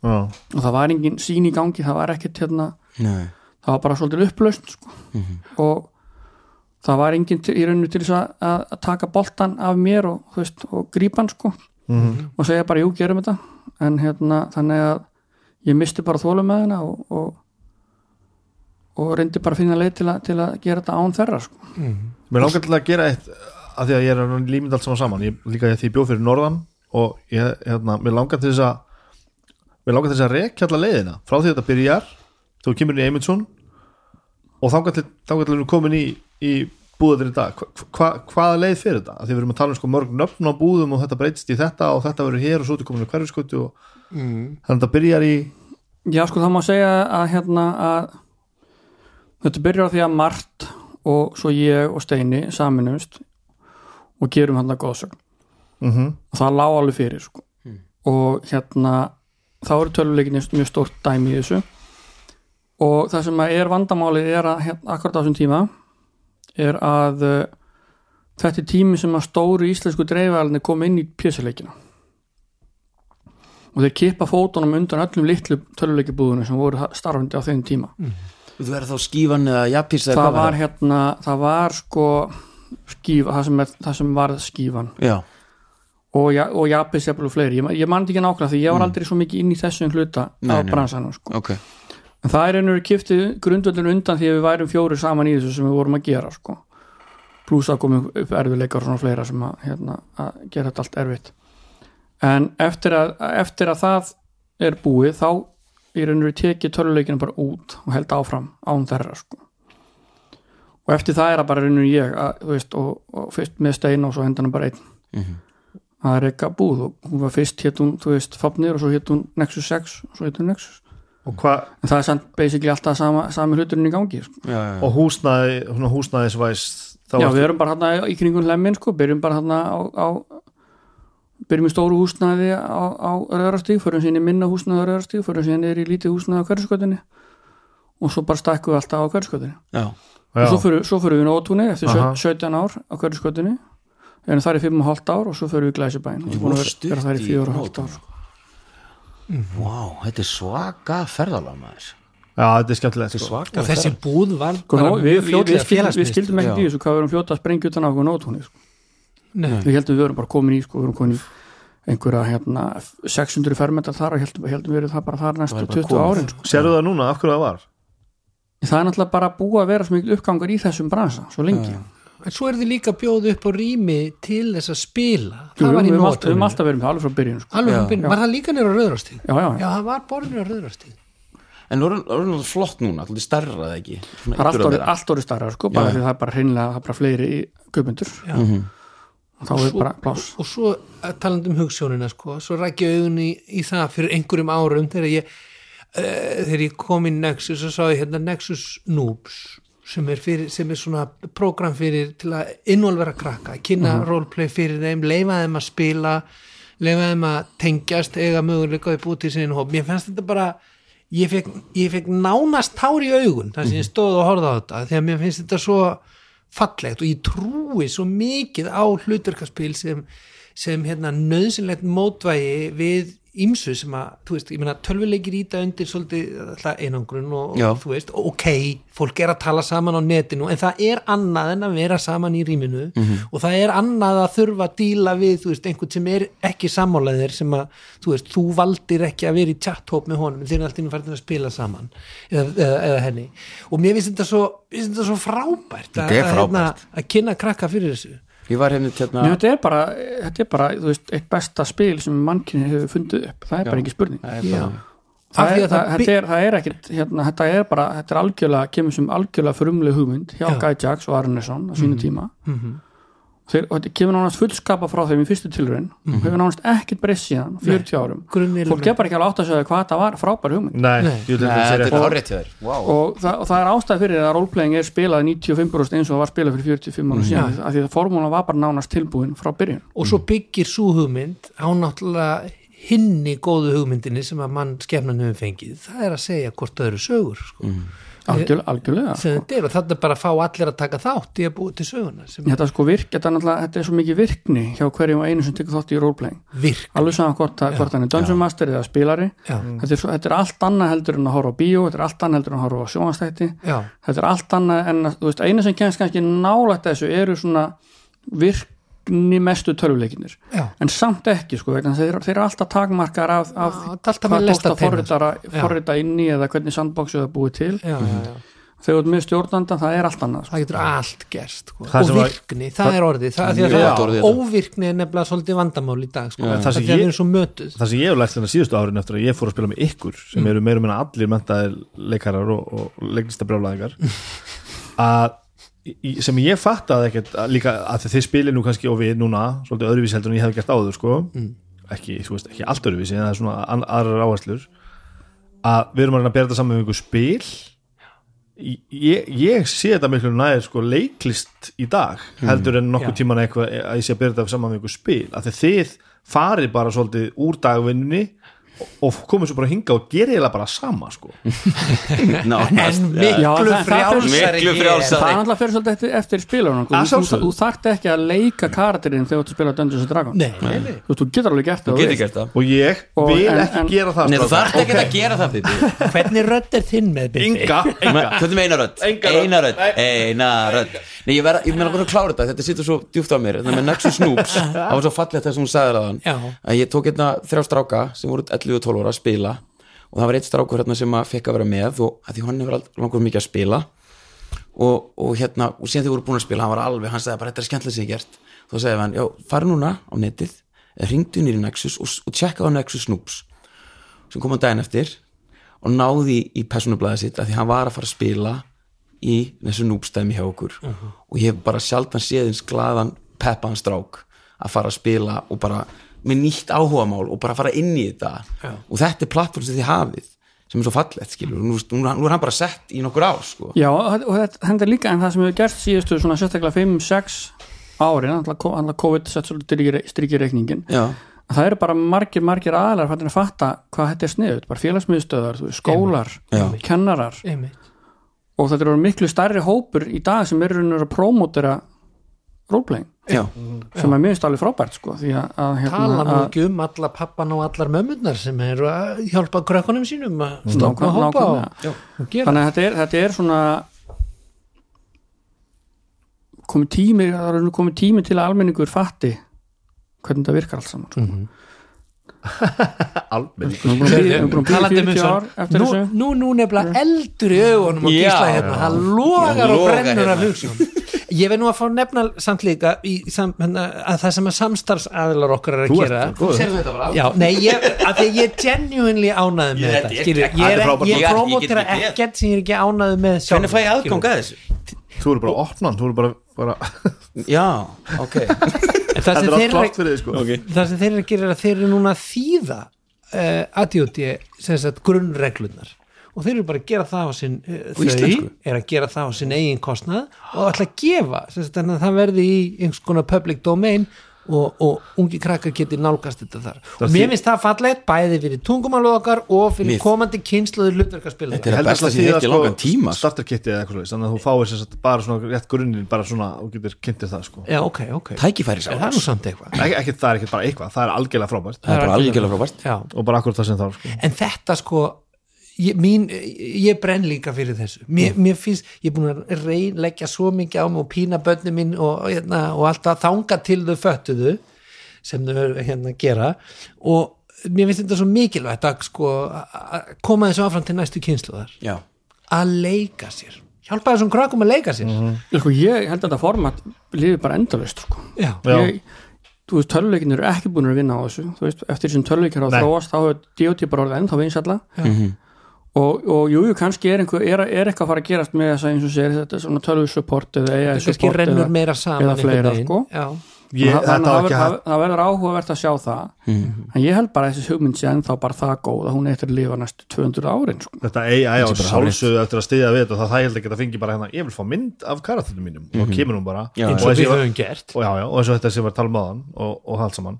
B: já,
C: og það var engin sín í gangi, það var ekkert hérna
D: Nei
C: það var bara svolítið upplaust sko. og það var enginn til- í rauninu til þess að, að að taka boltan af mér og, þú veist, og grípan sko. og segja bara jú, gerum þetta en hérna, þannig að ég misti bara þólum með hana og, og, og reyndi bara að finna leið til að, til að gera þetta án þeirra sko.
B: mér langar til að gera eitt af því að ég er að límynd allt saman saman ég, líka því ég bjóð fyrir norðan og ég, hérna, mér langar til þess að við langar þess að rekja alla leiðina frá því þetta byrjar, þú kemur inn í Eymundsson og þangar til, þangar til við erum komin í, í búðir í dag hva, hva, hvaða leið fyrir þetta? Af Því við erum að tala um sko mörg nöfn á búðum og þetta breytist í þetta og þetta verður hér og svo þetta komin í hverfiskoti og mm. þannig að þetta byrjar í
C: Já, sko, það má segja að hérna að þetta byrjar á því að Mart og svo ég og Steini saminumst og gerum hérna góðsögn
B: mm
C: og það lá alveg fyrir sko. og hérna þá eru töluleikinni mjög stórt dæmi í þessu og það sem að er vandamálið er að hérna, akkurat á þessum tíma er að uh, þetta er tími sem að stóru íslensku dreifælinni kom inn í pjössuleikina og þeir kippa fótunum undan öllum litlu töluleikibúðunum sem voru ha- starfandi á þeim tíma
D: Þú verður þá skífan eða jafnpís eða
C: það
D: hvað
C: var hérna, það var sko skífa, það sem, er, það sem var skífan
D: Já,
C: og, ja, og Japis jafnvel og fleiri, ég, man- ég man þetta ekki nákvæmlega því ég var aldrei svo mikið inn í þessum hluta
D: Mm. Nei,
C: á
D: nei.
C: bransanum sko.
D: ok
C: en það er einhverju kiftið grundvöldin undan því að við værum fjóri saman í þessu sem við vorum að gera sko. pluss að komum upp erfiðleikar og svona fleira sem að, hérna, að gera þetta allt erfitt en eftir að, eftir að það er búið þá er einhverju tekið töluleikinu bara út og held áfram án þeirra sko. og eftir það er að bara einhverju ég að, þú veist, og, og fyrst með stein og svo hendanum bara einn að reyka búð og hún var fyrst hétt hún, þú veist, Fafnir og svo hétt hún Nexus 6 og svo hétt hún Nexus
B: og, hva,
C: en það er samt basically alltaf sama, sami hluturinn í gangi sko.
D: já, já.
B: og húsnæði, svona húsnæðisvæst þá
C: já,
B: ertu-
C: við erum bara hérna í kringum hlemmin sko, byrjum bara hérna á, á byrjum í stóru húsnaði á, á röðrastíg, förum síðan í minna húsnaði á röðrastíg, förum síðan niður í lítið húsnaði á hverfskötunni og svo bara stakkum við alltaf á hverfskötunni
D: já.
B: Já.
C: og svo förum, svo förum við nótunni eftir sjö-
B: Aha.
C: 17 ár á hverfskötunni en það er 5,5 ár og svo förum við í glæsibæn og
D: Ég
C: svo búin að
D: voru
C: vera-
D: stutt
C: vera það
D: í
C: í 4,5
D: Nóatúni.
C: ár sko.
D: Vá, þetta er svaka ferðalag maður
B: já, þetta er skemmtilegt
D: Þetta er
B: sko.
D: svaka
A: og þessi búð var
C: Sko,
A: bara
C: nó, við,
A: mjög
C: við, við,
A: fljótlega
C: skildum, við
A: félagsmiðstöð.
C: skildum ekkert
D: Já.
C: í þessu hvað við erum fljóta að sprengja utan á okkur nótunni sko.
A: Nei.
C: við heldum við verum bara komin í sko, við erum komin í einhverja hérna, 600 fermetar þar og heldum, heldum við erum það bara þar næstu
D: bara
C: 20
D: komið.
C: árin sko.
B: sérðu það núna, af hverju það var?
C: það er náttúrulega bara búið að vera svo mikil uppgangur í þessum bransa svo lengi
A: en svo er þið líka bjóðu upp á rými til þess að spila
C: Jú,
A: það
C: jú,
A: var
C: við höfum allt-
A: í
C: við höfum
A: nótunum
C: alltaf verið með það alveg frá byrjun sko.
A: Alveg frá
D: Já.
A: byrjun. var það líka nýra rauðrastíð
C: já, já, já.
A: já, það var bara nýra rauðrastíð
D: En orðin orðin flott núna, alltaf stærra eða ekki Svona
C: það er
D: ykkur
C: allt
D: að
C: orðið-
D: vera.
C: allt orðið starra sko, bara
D: Já.
C: því það er bara hreinlega það er bara fleiri í guðmundur
A: Já.
C: og þá er bara pláss
A: og svo að talandi um hugssjónina sko, svo rækja augun í, í það fyrir einhverjum árum þegar ég, uh, þegar ég kom í Nexus og sá ég hérna Nexus Noobs sem er, fyrir, sem er svona program fyrir til að innvolvera krakka, kynna roleplay fyrir þeim, leifa þeim að spila leifa þeim að tengjast eiga möguleika upp út í sinni hóp mér fannst þetta bara ég fekk, ég fekk nánast tár í augun þar sem ég stóð og horfði á þetta því að mér finnst þetta svo fallegt og ég trúi svo mikið á hluturkaspil sem, sem hérna, nöðsynlegt mótvægi við ýmsu sem að, þú veist, ég meina tölvuleikir íta undir svolítið alltaf einangrun og,
D: Já.
A: og þú veist, ok, fólk er að tala saman á netinu, en það er annað en að vera saman í rýminu og það er annað að þurfa að díla við þú veist, einhvern sem er ekki sammálaðir sem að, þú veist, þú valdir ekki að vera í chat-hóp með honum, en þeir eru alltaf inn farin að spila saman, eða, eða, eða henni og mér finnst þetta svo, mér finnst þetta svo frábært að,
D: Þetta er
A: að, hérna,
D: frábært.
A: að kynna krakka fyrir þessu
D: Ég var hefnir hérna
C: Nei, þetta er bara, þetta er bara þú veist, eitt besta spil sem mannkinni hefur fundið upp það er bara ekki spurning
D: Það er bara-
C: það
A: Af því
C: er,
A: að það
C: það,
A: by-
C: þetta, er, það er ekkit hérna, þetta er bara, þetta er algjörlega kemur sem algjörlega förumleg hugmynd hjá
A: Já.
C: Guy Jacks og Arneson á sínu tíma Mhm. Þeir, og þetta kemur nánast fullskapa frá þeim í fyrstu tilraun og hefur nánast ekkit breyst síðan 40 árum,
A: grunnelement.
C: fólk Mhm. er bara ekki alveg átt að segja hvað það var frábær hugmynd
B: nei,
A: Nei.
B: ég vil þetta
D: Nei, Þetta
B: segja
D: er orðið til þér Vá.
C: og það, og það er ástæð fyrir að roleplaying er spilað 95% eins og það var spilað fyrir 45 árum síðan af því að formúlan var bara nánast tilbúin frá byrjun
A: og svo byggir svo hugmynd á náttúrulega hinni góðu hugmyndinni sem að mann skefnan hefur fengið það er að segja hvort öðru sögur sko.
C: algjörlega, algjörlega
A: sem þetta er og þetta er bara að fá allir að taka þátt í að búi til söguna sem
C: þetta sko virk, þetta er náttúrulega þetta er svo mikið virkni hjá hverjum og einu sem tekur þátt í roleplaying
A: virk
C: alveg saman hvort, að, hvort hann er dungeon master eða spilari
A: Já.
C: þetta er, svo, þetta er allt annað heldur en að horfa á bíó þetta er allt annað heldur en að horfa á sjónastætti
A: Já.
C: þetta er allt annað en að, þú veist, eina sem kemst kannski nálægt þessu eru svona virkni mestu tölvuleikinir
A: Já.
C: en samt ekki sko vegna, þess að þeir, þeir eru alltaf takmarkar af, af
A: Já, þetta er
C: hvað tókst
A: alltaf með
C: að
A: lestarteinar.
C: forrita,
A: Já.
C: forrita inn í eða hvernig sandboxu það búið til
A: já, já, já.
C: þegar þú ert með stjórnanda það er allt annað sko.
A: það getur allt gerst sko.
B: Það
A: og
B: sem var-
A: virkni, það er orðið það,
D: mjög
A: það, það,
D: gott orðið
A: það,
D: þetta.
A: óvirkni er nefnilega svolítið vandamál í dag sko.
D: Já.
A: það,
B: Það
A: það
B: sem
A: er
B: ég-
A: ég... svo mötuð
B: það sem ég hef lært þennan síðustu árin eftir að ég fór að spila með ykkur
D: Mm.
B: sem eru meira meina allir mentaðir leikarar og, og leiklistabrjálæðingar að í- sem ég fattaði ekkert að, líka að þið spilið nú kannski og við núna svolítið öðruvísi heldur en ég hef gert áður sko.
D: Mm.
B: ekki, þú veist, ekki allt öðruvísi en það er svona an- aðrar áherslur að við erum að reyna að bera þetta saman með einhver spil Í- ég, ég sé þetta miklu næðir sko leiklist í dag
D: Hmm.
B: heldur en nokkuð tíman eitthvað að ég sé að bera þetta saman með einhver spil af því þið farið bara svolítið úr dagvinnunni og- og komið svo bara hinga og gerið það bara sama sko
D: nánast
A: en
D: já.
C: Já,
A: miklu
C: það- það-
A: frjálsari
D: Miklu
A: hér.
D: frjálsari.
C: það er náttúrulega fyrir svolítið eftir, eftir spilarunum
B: Að
C: þú, þú,
B: sjálfsögðu.
C: þú þarft ekki að leika karakterinn þegar þú ert að spila Dungeons and Dragons
A: Nei, nei,
C: [laughs]
A: nei.
C: þú, veist, þú getur alveg gert
D: þú
C: það
D: getur gert það
B: og ég
C: Og-
B: vil
C: en-
B: ekki
C: en-
B: gera það
D: Nei, þú
B: strákar.
D: þarft ekki að gera það Bibi.
A: hvernig rödd er þinn með
D: [laughs]
A: Bibi?
B: enga, enga
D: Hvernig með einarödd? Einarödd Einarödd Nei, ég verð ég meina bara að klára þetta Þetta situr svo djúpt á mér Þetta með Nexus Snoops Það var svo fallegt þess að hún sagði það
A: Já.
D: að ég tók hérna þrjá stráka sem voru 11 og 12 ára að spila og það var eitt strákur hérna sem að fekk að vera með og að því hann hefur aldrei langur mikið að spila og, og hérna, og síðan þið voru búin að spila hann var alveg, hann sagði bara, þetta er skemmtilega sem ég hef gert þá sagði hann, já, fara núna á netið ringdu nýri Nexus og, og tjekkaðu á Nexus Snoops sem kom á daginn eftir og náði í personublaðið sitt að því hann var að fara að spila í þessu núbstæmi hjá okkur og ég hef bara sjaldan séðins glaðan peppan strák að fara að spila og bara með nýtt áhugamál og bara fara inn í þetta og þetta er plattform sem þið hafið sem er svo fallegt skilur nú, nú, nú er hann bara sett í nokkur ár sko.
C: Já, og þetta- og þetta hendur líka en það sem hefur gert síðustu svona sérstaklega 5-6 árin, alltaf COVID sett svolítið strikir reikningin
D: Já.
C: að það eru bara margir, margir aðlar fannir að fatta hvað þetta er sniðut, bara félagsmiðstöðar þú veist, skólar, kennarar
A: Einmitt.
C: og þetta eru miklu stærri hópur í dag sem eru raunir að prómótera roleplaying,
D: Já.
C: sem er minnst alveg frábært sko, því að, að,
A: tala
C: hérna,
A: nú
C: að
A: ekki um alla pappan og allar mömmunar sem eru að hjálpa krökkunum sínum að snákna
C: Nákvæm-
A: að hoppa og,
C: nákvæmlega.
A: og gera
C: þannig að þetta er, þetta er svona komið tími það er komið tími til að almenningur fatti hvernig þetta virkar allt saman sko.
B: almenning
C: Við erum búin að bíða- við erum búin að
A: Talandi
C: bíða
A: um
C: 40 ár
A: þessu,
C: eftir
A: nú,
C: þessu Mm.
A: nú, nú nefnilega eldur í augunum og
D: Já.
A: gísla hérna, það logar og
D: Logar
A: brennur
D: hérna.
A: af hugsun ég veit nú að fá nefna samt líka í, sam, hérna, að það sem að samstarfsaðilar okkar er að
B: Þú ert
A: gera
B: góður.
D: Sérðu þetta bara?
A: Já, nei, ég, að því að ég er genuinely ánaði með
D: Ég-
A: þetta
D: ég-
A: skilur,
D: þetta
A: ég,
D: er
A: er,
D: frábært.
A: ég
D: Ég- ég
A: promotera
D: get ekki beðið.
A: ekkert sem ég er ekki ánaði með sjálf
D: Hvernig fæ ég aðgang að þessu?
B: þú eru bara að opna hann, þú eru bara, bara [laughs]
D: Já, ok
A: En það
B: þetta
A: sem
B: er allt
A: þeir
B: klart fyrir þið sko okay.
A: það sem þeir eru að gera er að þeir eru núna að þýða uh, ADOD sem sagt grunnreglunar og þeir eru bara að gera það á sinn uh, þau
D: íslensku.
A: er að gera það á sinn eigin kostnað og ætla að gefa sem sagt, þannig að það verði í einhvers konar public domain og, og ungi krakkar geti nálgast þetta þar og mér finnst það fallegt bæði fyrir tungumálu okkar og fyrir
D: Mér-
A: komandi kynsluður hlutverkarspilar
D: Þetta er að besta sem ég hef ekki langan tíma sko.
B: starter kitið eða eitthvað svoleiðis, þannig að þú fáir sem sagt bara svona rétt grunninn, bara svona og getur kynntir það
D: [laughs]
B: sko
A: Já, ok, ok
D: Tækifæri sá
A: Það er nú samt eitthvað
B: ekki, ekki, það er ekki bara eitthvað, það er algjörlega frábært
D: Það er bara algjörlega frábært
A: Já
B: og bara akkur það sem þarf sko.
A: en þetta sko ég, mín, ég brenn líka fyrir þessu mér, mér finnst, ég er búin að reynleggja svo mikið á mig og pína bönni mín og, hérna, og alltaf þanga til þau föttuðu sem þau eru, hérna gera og mér finnst þetta svo mikilvægt að sko að koma þessu áfram til næstu kynsluðar
D: Já,
A: að leika sér, hjálpa þessum krakum að leika sér
C: sko, ég held að þetta format lífi bara endalaust sko.
A: já,
B: Já.
C: ég, þú veist, töluleikin eru ekki búin að vinna á þessu þú veist, eftir sem töluleikin eru að
B: Nei. Mhm.
C: þróast þá hefur D.O.T. bara orðið ennþá vinsalla og, og jú, jú, kannski er, einhver, er, er eitthvað að fara að gerast með þess að eins og segir þetta svona tölvið support eða AI
A: kannski
C: support
A: rennur
C: eða-
A: meira saman
C: eða fleira,
A: einhvern veginn.
C: sko.
A: já,
B: ég,
C: Þannig að
B: þetta
C: það
B: var ekki Mhm.
C: verður-
B: hægt
C: það- það verður áhugavert að sjá það en ég held bara að þessi hugmynd sé ennþá bara það góð að hún er eftir að lifa næstu 200 árin sko.
B: þetta AI á
D: Þetta er bara
B: sjálfsögðu eftir að stiðja við þetta og það það ég held ekki að fengi bara hérna ég vil fá mynd af karatinu mínum og kemur hún bara
D: Mhm. Já,
B: og,
D: eins
A: og
B: þessi,
A: við
B: og,
A: höfum gert
B: já, já, og eins og þetta sem var talað með hann og, og allt saman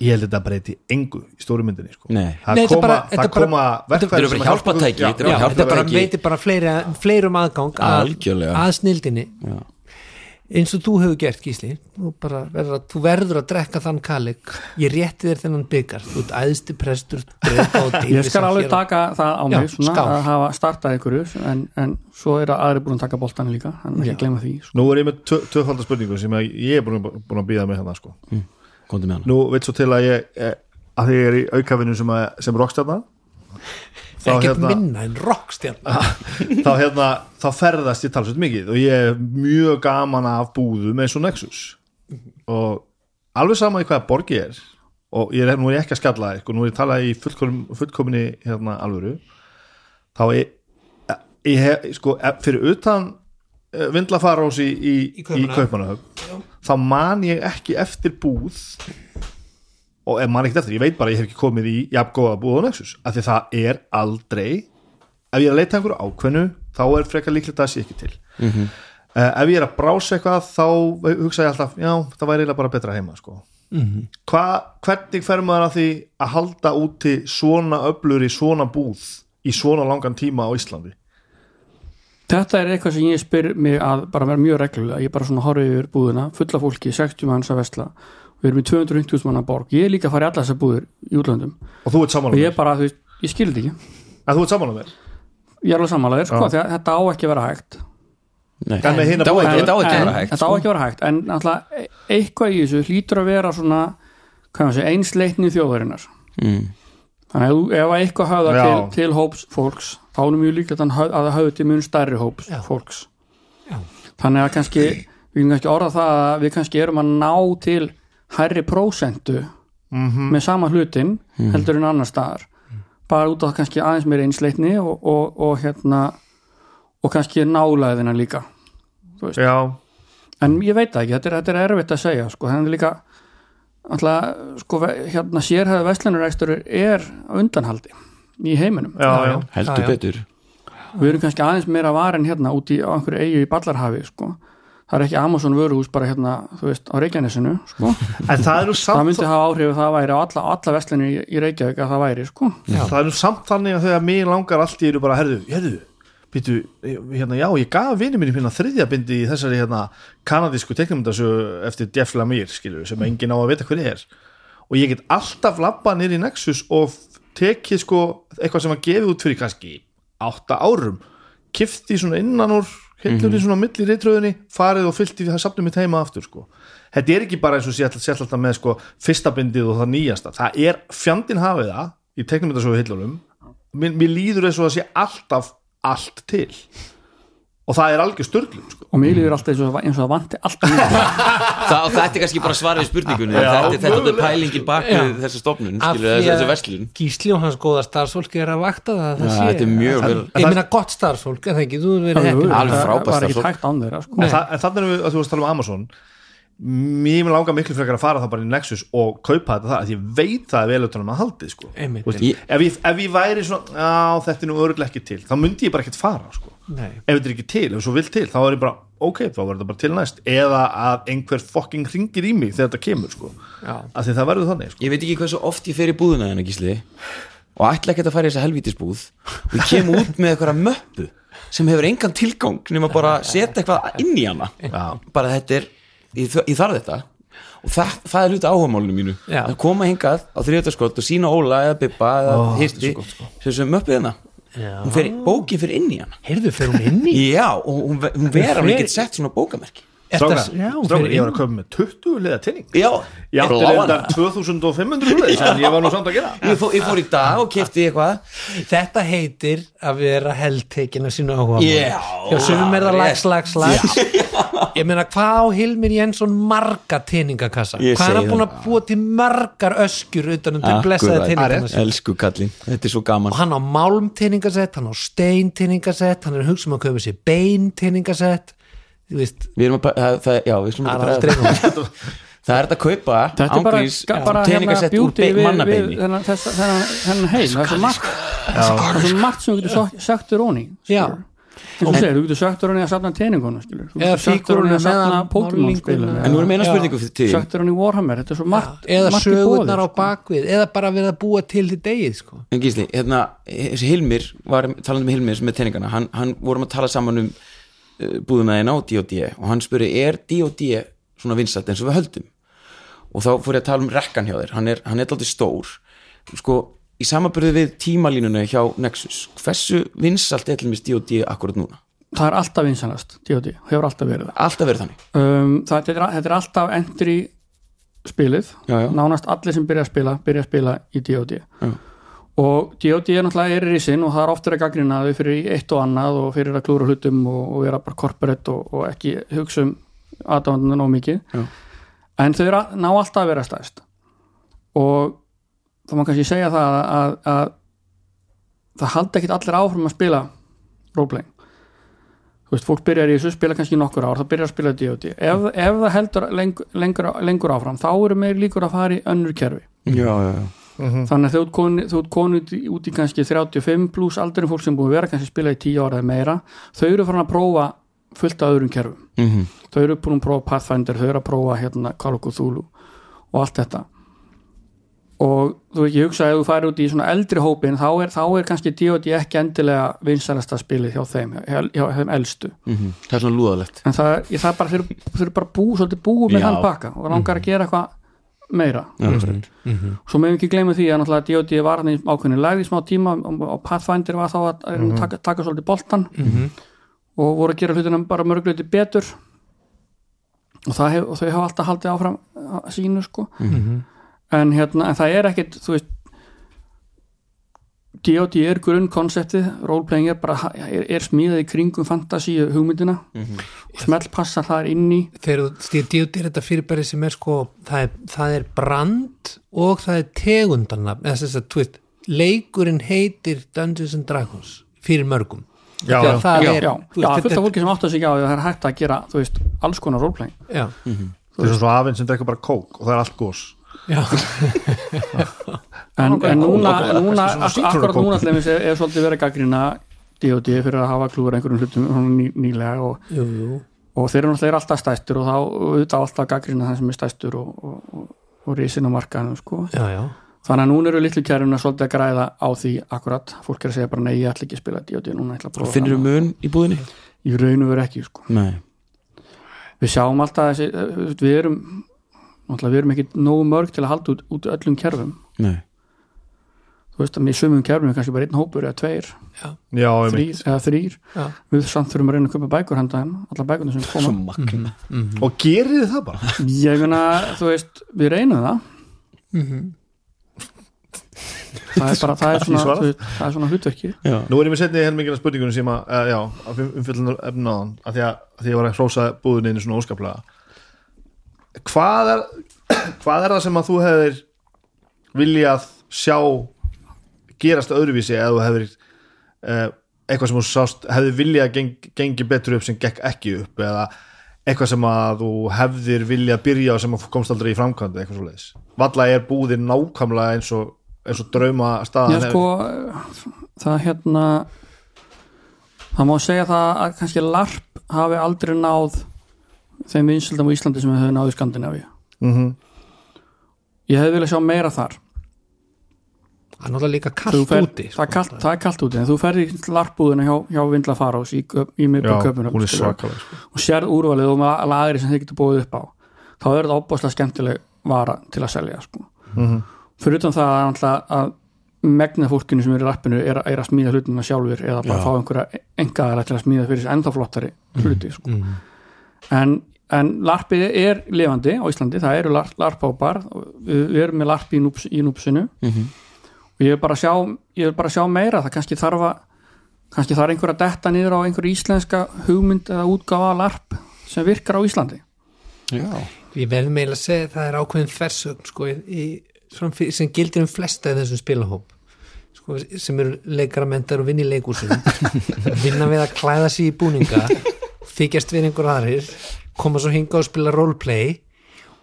B: ég held þetta breyti engu í stóru myndinni sko.
D: Nei.
B: það
A: Nei, þetta
B: koma,
A: bara-
B: það
A: þetta bara-
B: koma
D: Þetta eru bara hjálpartæki, þetta eru
A: Já,
D: bara
A: þetta bara
D: hjálpartæki.
A: veitir bara fleiri, fleirum aðgang að,
D: Algjörlega.
A: að snildinni eins og þú hefur gert Gísli þú, bara verður að, þú verður að drekka þann kalik ég rétti þér þennan byggar þú ert æðsti prestur drauka og dýrvisa
C: ég skal alveg
A: hér á-
C: taka það á mig
A: Já,
C: svona,
A: skál.
C: að hafa startað ykkur en, en svo er að aðri búin að taka boltan líka hann er ekki að gleyma því sko.
B: nú er ég með tvö- tvöfaldar spurningu sem ég ég er búin að- búin að býða með hérna sko.
D: Mhm. komdu með hana
B: nú veit svo til að ég eh, að því ég er í aukafinnum sem, að- sem rockstjarnar þá
A: ekkert
B: hérna-
A: minna en rockstjarn
B: [laughs] þá, hérna, þá ferðast ég talsveit mikið og ég er mjög gaman af búðum eins og Nexus og alveg sama í hvaða borg ég er og ég er, nú er ég ekki að skalla þig, sko, nú er ég að tala í fullkomin, fullkominni hérna, alvöru þá ég, ég hef, sko, fyrir utan eh, vindlafarós í, í,
A: Í
B: í
A: Kaupmannahöfn.
B: Kaupmannahöfn þá man ég ekki eftir búð og ef man ekkert eftir, ég veit bara að ég hef ekki komið í jafngóða búð og Nexus, af því það er aldrei ef ég er að leita að einhverju ákveðnu þá er frekar líklegt að það sé ekki til mm ef ég er að brása eitthvað þá hugsa ég alltaf, já, það væri eiginlega bara betra heima sko. Hva, hvernig fer maður að því að halda úti svona öflur í svona búð í svona langan tíma á Íslandi
C: Þetta er eitthvað sem ég spyr mig að bara vera mjög reglulega, ég bara svona horfið yfir búðina, fulla fólki, 60 manns að vesla við erum í 250 manna borg ég er líka að fara í alla þessar búðir í útlöndum
B: og þú ert samanlega mér
C: og ég bara, þú veist, ég skilði ekki
B: að þú ert samanlega mér
C: ég er alveg samanlegaður, sko, því að þetta á ekki að vera hægt
D: Nei.
B: En með hina
D: Þetta á
B: búið-
D: ekki- þetta á ekki að
C: en,
D: vera hægt
C: þetta á ekki að vera hægt en alltaf eitthvað í þessu hlýtur að vera svona hvað maður segja, einsleitni þjóðarinnar
D: Mm.
C: þannig að þú- ef að eitthvað höfða
B: Já.
C: til, til hóps fólks þá er mjög líklegt að hann höf- að það höfði til mun stærri hóps
A: Já.
C: fólks
A: Já.
C: þannig að kannski við kannum kannski orða það að við kannski erum að ná til hærri prósentu
A: Mhm.
C: með sama hlutin heldur en annar staðar bara út af kannski aðeins meira einsleitni og, og, og hérna og kannski nálaðina líka
B: já,
C: en ég veit það ekki, þetta er, þetta er erfitt að segja sko, þannig líka alltaf, sko, ve- hérna sérhæðu veslanurekstur er á undanhaldi í heiminum,
B: já, já,
D: Heldur
A: Já, já.
D: betur
C: við erum kannski aðeins meira varin hérna úti á einhverju eigu í Ballarhafi sko, það er ekki Amazon vöruhús bara hérna, þú veist, á Reykjanesinu
D: [laughs]
C: sko,
B: en það er nú
C: það
B: samt
C: myndi hafa áhrif að það væri á alla, alla veslinu í, í Reykjavík að það væri, sko
B: það er nú samt þannig að þegar mér langar allt ég eru bara, herðu, herðu Býtu, hérna, já, ég gaf vinið mínum hérna þriðja bindi í þessari hérna kanadísku teknumundasögu eftir Jeff Lemire skilur, sem enginn á að vita hvernig er og ég get alltaf labbað nýr í Nexus og f- tekið sko eitthvað sem var gefið út fyrir kannski átta árum, kifti svona innan úr hillur í svona milli reytröðinni farið og fyllt í það safnum mitt heima aftur sko. þetta er ekki bara eins og sé alltaf, sé alltaf með sko, fyrsta bindið og það nýjasta það er fjandin hafið það í teknumindasögu hillunum mér, mér líður eins og það sé alltaf allt til og það er algjör störglum sko.
C: og mér líður alltaf eins og, það- eins og það vanti
D: [laughs]
C: alltaf
D: Það, þetta er kannski bara svarið við spurningunni já, þetta, þetta, þetta er pælingin bak við þessa stofnun
A: Af
D: skilur,
A: því
D: þessu,
A: að
D: þessu verslun
A: Gísli og hans góða starfsfólk er að vakta það að
D: Já,
A: það sé
D: Þetta er mjög vel
A: ég meina gott starfsfólk, er það ekki, þú hefur verið heppin
D: alveg frábært
C: var ekki
D: starfsfólk.
C: tækt án þeirra, sko
B: en, þa en þannig að þú varst að tala um Amazon mér vil langa miklu frekar að fara það bara í Nexus og kaupa þetta það að ég veit það er vel utan um að haldi sko.
A: Einmitt.
B: Þú veist,
D: Ég-
B: ef, ég, ef ég væri svona á, þetta er nú örgulega ekki til, þá myndi ég bara ekkert fara sko.
A: Nei.
B: ef þetta er ekki til, ef svo vil til þá er ég bara, ok, þá verður þetta bara til næst eða að einhver fucking ringir í mig þegar þetta kemur, sko,
A: Já.
B: að því það verður þannig sko.
D: Ég veit ekki hversu oft ég fer í búðuna þennan gísli og ætla ekki að fara í þessa helvítisbúð og ég kem út með eitthvað möppu sem hefur engan tilgang nema bara að setja eitthvað inn í hana
B: Já.
D: bara þetta er, ég, þ- ég þarf þetta og það, það er hluti áhugamálinu mínu
A: Já.
D: að koma hingað á þriðutaskott og sína Óla eða Bibba eða oh, Hirti
A: sko.
D: sem sem möppu þennan Hún fer, bókin fyrir inn í hana
A: heyrðu, fer hún inn í
D: já, og hún, ve- hún vera hún
A: fer-
D: ekkert sett svona bókamerki
A: Er
B: Strákar,
A: það- já, hún
B: strákar,
A: fer
B: ég
A: inn
B: var að köpa með 20 liða tenning
D: já,
B: ég átti
D: bláana.
B: reyndar 2500 svoleiðis, en ég var nú samt að gera
D: ég, fó, ég fór í dag og kefti eitthvað
A: Þetta heitir að vera heldtekin af sínu áhuga
D: Já.
A: Já, sumum er það
D: Já,
A: lags,
D: rétt.
A: lags, lags Ég meina, hvað á Hilmir Jensson marga teiningakassa?
D: Ég
A: Hvað er
D: segi
A: hann búin að
D: það.
A: búa til margar öskjur utan um til blessaði
D: Akkurat.
A: teiningakassa?
D: Elsku kallinn, þetta er svo gaman
A: Og hann á málm teiningasett, hann á stein teiningasett, hann er að hugsa um að köpa sér bein teiningasett Þú veist,
D: Við erum að, pa- það, það, já, við skulum
A: það
D: ekki
A: er
D: draga
A: aldrei
D: það. [laughs] Það er þetta að kaupa
C: Þetta er bara,
D: ángrís
C: ga- bara hérna
D: teiningasett úr
C: beauty
D: be-
C: við, við
D: mannabeini sko.
C: þennan, þess, þennan, þennan heim það er svo margt það er svo margt sem þú getur sagt- sagt þér óni
A: Já.
C: þú segir, þú getur sagt þér óni að safna teiningunum skilur. þú
A: Eða
C: getur sagt þér óni
A: fígúruna
C: að safna
A: meðan
C: Pokémon
A: málninguna.
C: spilum
D: En nú erum eina
A: Já.
D: spurningu fyrir til
C: sagt þér óni Warhammer, þetta er svo margt
A: Eða
C: margt í
A: sögurnar
C: boði,
A: á
C: sko.
A: bakvið, eða bara verið að búa til því degið, sko
D: En gísli, hérna, þessi Hilmir var, talandi um Hilmir sem er teiningana hann, hann vorum að tala saman um uh, búðumæðina og D.O.D. og hann spurði, er D.O.D. svona vinsætt eins og við höldum og þá fór ég að tala um rekkan hjá þér hann er, hann er alltaf stór sko, í samaburði við tímalínuna hjá Nexus, hversu vinsælt er til mér D.O.D. akkurat núna?
C: það er alltaf vinsanast, D.O.D. hefur alltaf verið það
D: Alltaf verið þannig
C: um, það þetta er, þetta er alltaf entry spilið
D: Já, já.
C: nánast allir sem byrja að spila byrja að spila í D.O.D.
D: Já.
C: og D.O.D. er náttúrulega er í sinn og það er oftir að gagnrýna þau fyrir eitt og annað og fyrir að klúra hlutum og, og vera bara corporate og, og ekki hugsa um aðdáðanum nóg mikið
D: Já.
C: en þau eru að, ná alltaf að vera stæðst og þá má kannski segja það að, að það halda ekkit allir áfram að spila roleplaying þú veist, fólk byrjar í þessu, spila kannski í nokkur ár, það byrjar að spila D.O.D. Ef, ef það heldur lengur, lengur, lengur áfram, þá eru meir líkur að fara í önnur kerfi
D: já, já, já.
C: þannig að þú ert komin- þú ert komin út, í- út í kannski 35 pluss aldrei fólk sem búið að vera kannski að spila í 10 ára eða meira þau eru farin að prófa fullt af öðrum kerfum
D: Mm
C: þau eru búin að prófa Pathfinder, þau eru að prófa hérna Call of Cthulhu og allt þetta og þú veit ég hugsa að ef þú færi út í svona eldri hópin þá er, þá er kannski D.O.D. ekki endilega vinsælasta spilið hjá þeim, hjá, hjá, hjá þeim elstu
D: mhm. það er svona lúðalegt
C: en það, ég, það er bara, þeir, eru- þeir eru bara bú, svolítið búið með
D: Já. Mhm.
C: þann pakka og langar að gera eitthvað meira
D: já, mm
C: svo meðum ekki gleyma því að náttúrulega D.O.D. var hann í ákveðinu lægð í smá tíma og og Pathfinder var þá að, að
D: Mhm.
C: mm taka, taka svolítið boltan og voru að gera hlutina bara mörgleiti betur og, það hef, og þau hafa alltaf haldið áfram að sínu sko
D: Mhm.
C: en, hérna, en það er ekkit þú veist D.O.D. er grunnkonseptið roleplaying er bara er, er smíðað í kringum fantasíu hugmyndina
D: Mhm.
C: og smellpassar það inn í
A: þegar þú stýr djúti er þetta fyrirbæri sem er sko, það er, það er brand og það er tegundarnafn eða þess að, þú veist, leikurinn heitir Dungeons and Dragons fyrir mörgum
B: Já,
A: Þegar
B: já.
A: það
C: já,
A: er,
C: já,
A: þú
C: já,
A: veist,
C: fullt af
A: þetta,
C: fólki sem átt að sig á því að það er hægt að gera þú veist, alls konar roleplaying
A: já,
B: það er svo afinn sem drekka bara kók og það er allt gós
A: já,
C: en, en núna,
B: ákveðlega,
C: núna
B: kannski svona
C: ak- akkurat
B: sítrónukók.
C: núna allir er, er svolítið verið að gaggrina D.O.D. fyrir að hafa klúður einhverjum hlutum svona ný, nýlega og,
A: jú, jú
C: og þeir eru náttúrulega alltaf stæstur og þá auðvitað alltaf gaggrina það sem er stæstur og, og, og, og risin á markaðinu sko.
A: já, já,
C: þannig að núna eru litlu kjæruna svolítið að græða á því akkurat, fólk er að segja bara nei, ég ætla ekki að spila D.O.D. núna, ég ætla að prófa
D: finnir þú mun í búðinni?
C: það í raun og veru ekki sko.
D: nei,
C: við sjáum alltaf þessi, eh, þú veist, við erum náttúrulega við erum ekki nógu mörg til að halda út, út öllum kerfum
D: nei
C: þú veist að með sumum kerfum er kannski bara einn hópur eða tveir,
B: já, um,
C: þrýr, eða þrýr
A: Já.
C: við samt þurfum að reyna að köpa bækur handa þeim alla bækurna sem
D: svo
C: koma
D: magna
B: og gerir þið það bara
C: ég meina, þú veist, við reynum það það er bara, það er svona
B: svarað.
C: þú veist, það er svona hlutverki
D: já,
B: nú er ég með setni helmingina spurningunum sem að, uh, já, af umfyllunar efnaðan af því að, af því að ég var að hrósa búðinni svona óskaplega hvað er [clears throat] hvað er það sem að þú hefur viljað sjá gerast öðruvísi eða þú hefur uh, eitthvað sem þú sást hefði viljað geng, gengi betur upp sem gekk ekki upp eða eitthvað sem að þú hefðir viljað byrja á sem að komst aldrei í framkvæmdi eitthvað svo leiðis valla er búðin nákvæmlega eins og, eins og drauma staðan
C: Já, sko, það hérna það má segja það að kannski LARP hafi aldrei náð þeim vinsildum á Íslandi sem við höfum náð í Skandinavíu
B: Mhm.
C: ég hefði viljað sjá meira þar
A: það er náttúrulega líka
C: Þú
A: kallt
C: fer,
A: úti sko.
C: það, er kalt, það er kalt úti en þú ferði í larpbúðuna hjá, hjá Vindla Farós í, Köp- í miðbúð
B: já, hún er
C: köpunum
B: svakalega sko.
C: og sérð úrvalið og með lagri sem þið getur búið upp á þá er þetta opbáslega skemmtileg vara til að selja sko. fyrir utan það að, náttúrulega að megna fólkinu sem er í larpinu er, að- er að smíða hlutina sjálfur eða bara
D: Já.
C: fá einhverja engaðara til að smíða fyrir þessi ennþá flottari hluti sko. en, en larpið er lifandi á Íslandi, það eru larp, larphópar og við, við erum með larpi í, núps, í núpsinu og ég vil bara sjá, ég vil bara sjá meira það kannski þarf að kannski þarf einhver að detta niður á einhver íslenska hugmynd eða útgáfa af larp sem virkar á Íslandi
D: já,
A: Við verðum eiginlega að segja að það er ákveðin fersögn sko, í, í- svona fyrir- sem gildir um flesta í þessum spilahóp sko, sem eru leikaramentar og vinni í leikúsum vinna við að klæða sig í búninga þykjast við einhver aðrir koma svo hinga og spila roleplay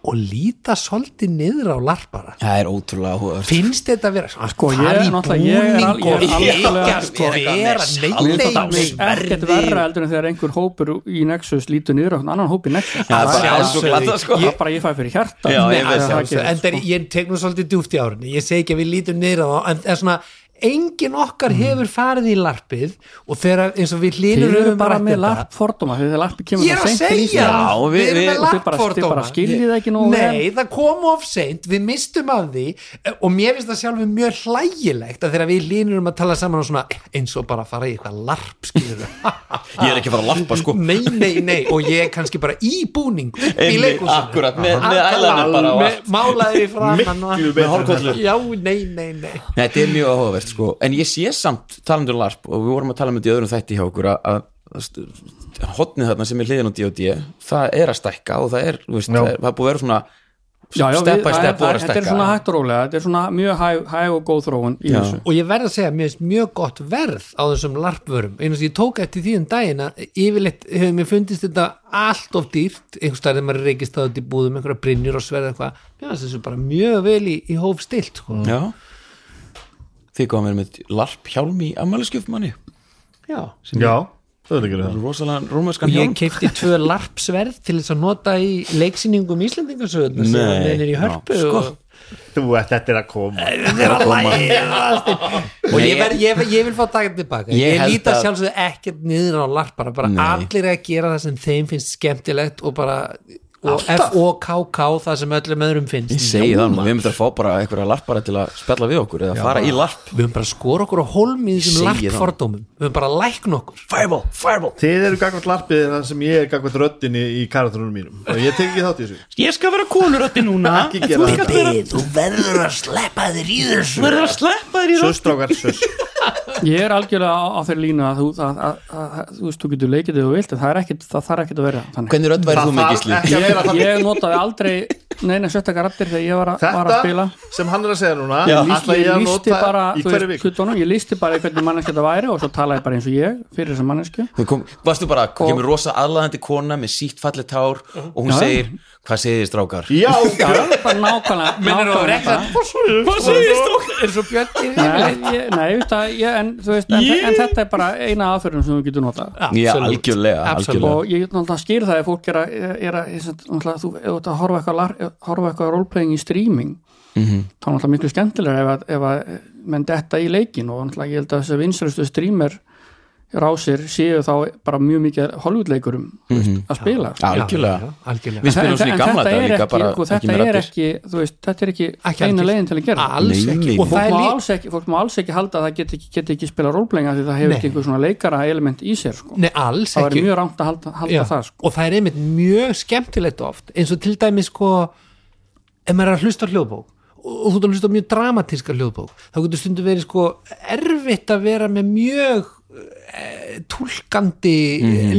A: og líta svolítið niður á larpara
D: það er ótrúlega hóður
A: finnst þetta að vera
C: Sko, ég er náttúrulega- ég er al- ég er algjörlega-
A: sko, vera
C: Mér finnst
A: neitt
C: ekkert verra eldur en þegar einhver hópur í Nexus lítur niður á einhvern annan hóp í Nexus
D: Já, það er bara
C: það,
D: alls og glata sko
C: það er bara ég fæ fyrir hjarta
D: Já, ég veit
C: það
D: það.
C: gerist,
A: en það er,
C: sko.
A: ég tek nú svolítið djúft í árunni ég segi ekki að við lítum niður á það en, en svona engin okkar hefur farið í larpið og þegar eins og við
C: Mm. Þið
A: hlýnur
C: eru bara með larp fordóma þegar larpi kemur
A: Ég er
C: svo
A: að
C: seint til
A: segja,
C: Íslands.
D: Já, við-
A: við erum
D: við-
A: með
D: þið
C: Þið bara, þið
A: larpfordóma
C: bara skiljið það ekki nógu
A: Nei, það kom of seint, við mistum af því eh, og mér finnst það sjálfur mjög hlægilegt að þegar við línur um að tala saman og svona eh, eins og bara fara í eitthvað larp [laughs] skilur
D: ég er ekki að fara að larpa sko
A: Nei, nei, nei, og ég er kannski bara í búning upp í
D: Einmitt,
A: leikúsinu
D: akkurat, með- með
A: Akkurat,
D: eyeliner bara og
A: með-
D: allt.
A: Málaður í framann og-
B: Miklu betur en
D: hárkollu.
A: Já, nei, nei, nei
D: Nei, þetta er mjög áhugavert sko En ég sé samt talandur larp og við vorum að tala um þetta í öðrum þætti hjá okkur að, að hotnið þarna sem er hliðin á D&D það er að stækka og það er, þú veist,
B: Já.
D: það er, það er búið að vera svona
C: Já, já,
D: step by
C: við-
D: step
C: það-
D: og vera að
C: Þetta er svona
D: stækka
C: hægt og rólega, þetta er svona mjög hæg, hæg og góð þróun í
D: Já.
C: þessu
A: og ég verð að segja, mér finnst mjög gott verð á þessum larpvörum, eins og ég tók eftir því um daginn að yfirleitt hefur mér fundist þetta allt of dýrt, einhvers staðar þegar maður reykist það út í búðum, einhverja brinnir og sverð eitthvað, mér finnst þessu bara mjög vel í, í hóf stilt, sko.
D: Já Þið komum að vera með larp hjálm í ammæliskjöf manni
A: Já.
B: já, það er ekki það
D: Rosalega rómarskan
A: Og ég
D: hjálm
A: keipti tvö larpsverð til þess að nota í leiksýningum íslendingasöðuna sem
D: Nei,
A: hann er í
D: já,
A: hörpu
D: sko.
A: og
B: þú, þetta er að koma
A: þetta er að lægast og ég,
D: Nei,
A: ver, ég, ég vil fá dagar tilbaka
D: Ég
A: ég, ég
D: held
A: líta
D: að-
A: sjálfsögðu ekkert niður á larpara bara
D: Nei.
A: allir að gera það sem þeim finnst skemmtilegt og bara og F-O-K-K það sem öllum öðrum finnst
D: Ég segi það, nú, við myndum að fá bara einhverja larpara til að spella við okkur eða fara í larp
A: við höfum bara að skora okkur á holm í
D: segi
A: þessum
D: það.
A: larpfordómum við höfum bara að lækna okkur
D: Fireball, fireball
B: Þið eru gagvart larpið þar sem ég er gagvart röddinni í karatrunum mínum og ég tek ekki þátt í [laughs] þessu
D: Ég skal vera konurötti núna [laughs]
B: Ekki gera
D: Þú
B: þetta.
D: skal vera-
A: þú verður að sleppa þér í
D: þú
A: þessu
D: verður að sleppa þér í rötti
B: Söstrákar, söst
C: Ég er algjörlega á, á þeirri línu að þú, að, að, að, að, þú veist, þú getur leikið þegar þú vilt en það er ekkit, það þarf ekkit að vera þannig
D: Hvernig rödd væri þú með gísli?
B: ekki að vera
C: Ég,
B: það
C: ég notaði aldrei neina sjöttakar rattir þegar ég var, a, var að spila
B: Þetta sem hann er að segja núna
D: Já.
B: ætla
C: Ég
B: ég að
C: listi
B: nota
C: bara,
B: í
C: þú
B: hverju
C: veist,
B: vik
C: hlutunum ég listi bara hvernig manneskja þetta væri og svo talaði ég bara eins og ég fyrir þessa mannesku
D: Hún kom, varstu bara,
C: Og-
D: kemur rosa aðlaðandi kona með sítt fallet hár og hún
C: Já.
D: segir, hvað segir þið strákar?
B: Já,
C: Já, bara
B: [laughs]
C: nákvæmlega
A: minnur
C: nákvæmlega
A: þú rekla
C: það.
A: hvað segir þú eins og björn
C: Nei, ég- nei, ég veist að ég, en, þú veist, en, en þetta er bara eina aðferðin sem þú getur notað
D: Já, algjörlega, algjörlega.
C: og ég náttúrulega skýr það ef fólk er að, er að, er að náttúrulega, þú ef þú ert að horfa eitthvað, lar- horfa eitthvað roleplaying í streaming
D: Mhm.
C: þá er náttúrulega miklu skemmtilega ef, að, ef að menn detta í leikin og náttúrulega ég held að þessi vinsalustu streamer rásir séu þá bara mjög mikið holvudleikurum mm að spila sko.
D: Algjörlega
A: algjörlega
D: Mhm. Við spilum
C: En-
D: svona í
C: en
D: gamla
C: þetta
D: dag
C: er
D: líka
C: ekki,
D: bara
C: sko,
D: ekki
C: þetta
D: með
C: er
D: raddir.
C: ekki, þú veist, þetta er ekki,
A: Ekki
C: eina
A: algilt.
C: leiðin til að gera það.
A: alls
D: Nei,
A: ekki
D: nei,
A: og
C: fólk
A: það er
C: má,
A: líka
C: alls ekki, fólk má alls ekki halda að það geti ekki, geti ekki spila rólblenga því það hefur
A: Nei.
C: ekki einhver svona leikara element í sér sko.
A: Nei, alls
C: það
A: ekki
C: er mjög rámt að halda, halda
A: Já,
C: það sko.
A: og það er einmitt mjög skemmtilegt oft eins og til dæmis sko ef maður er að hlusta á hljóðbók og og þú ert að hlusta á mjög dramatíska hljóðbók þá getur stundu verið sko erfitt að vera með mjög eh, túlkandi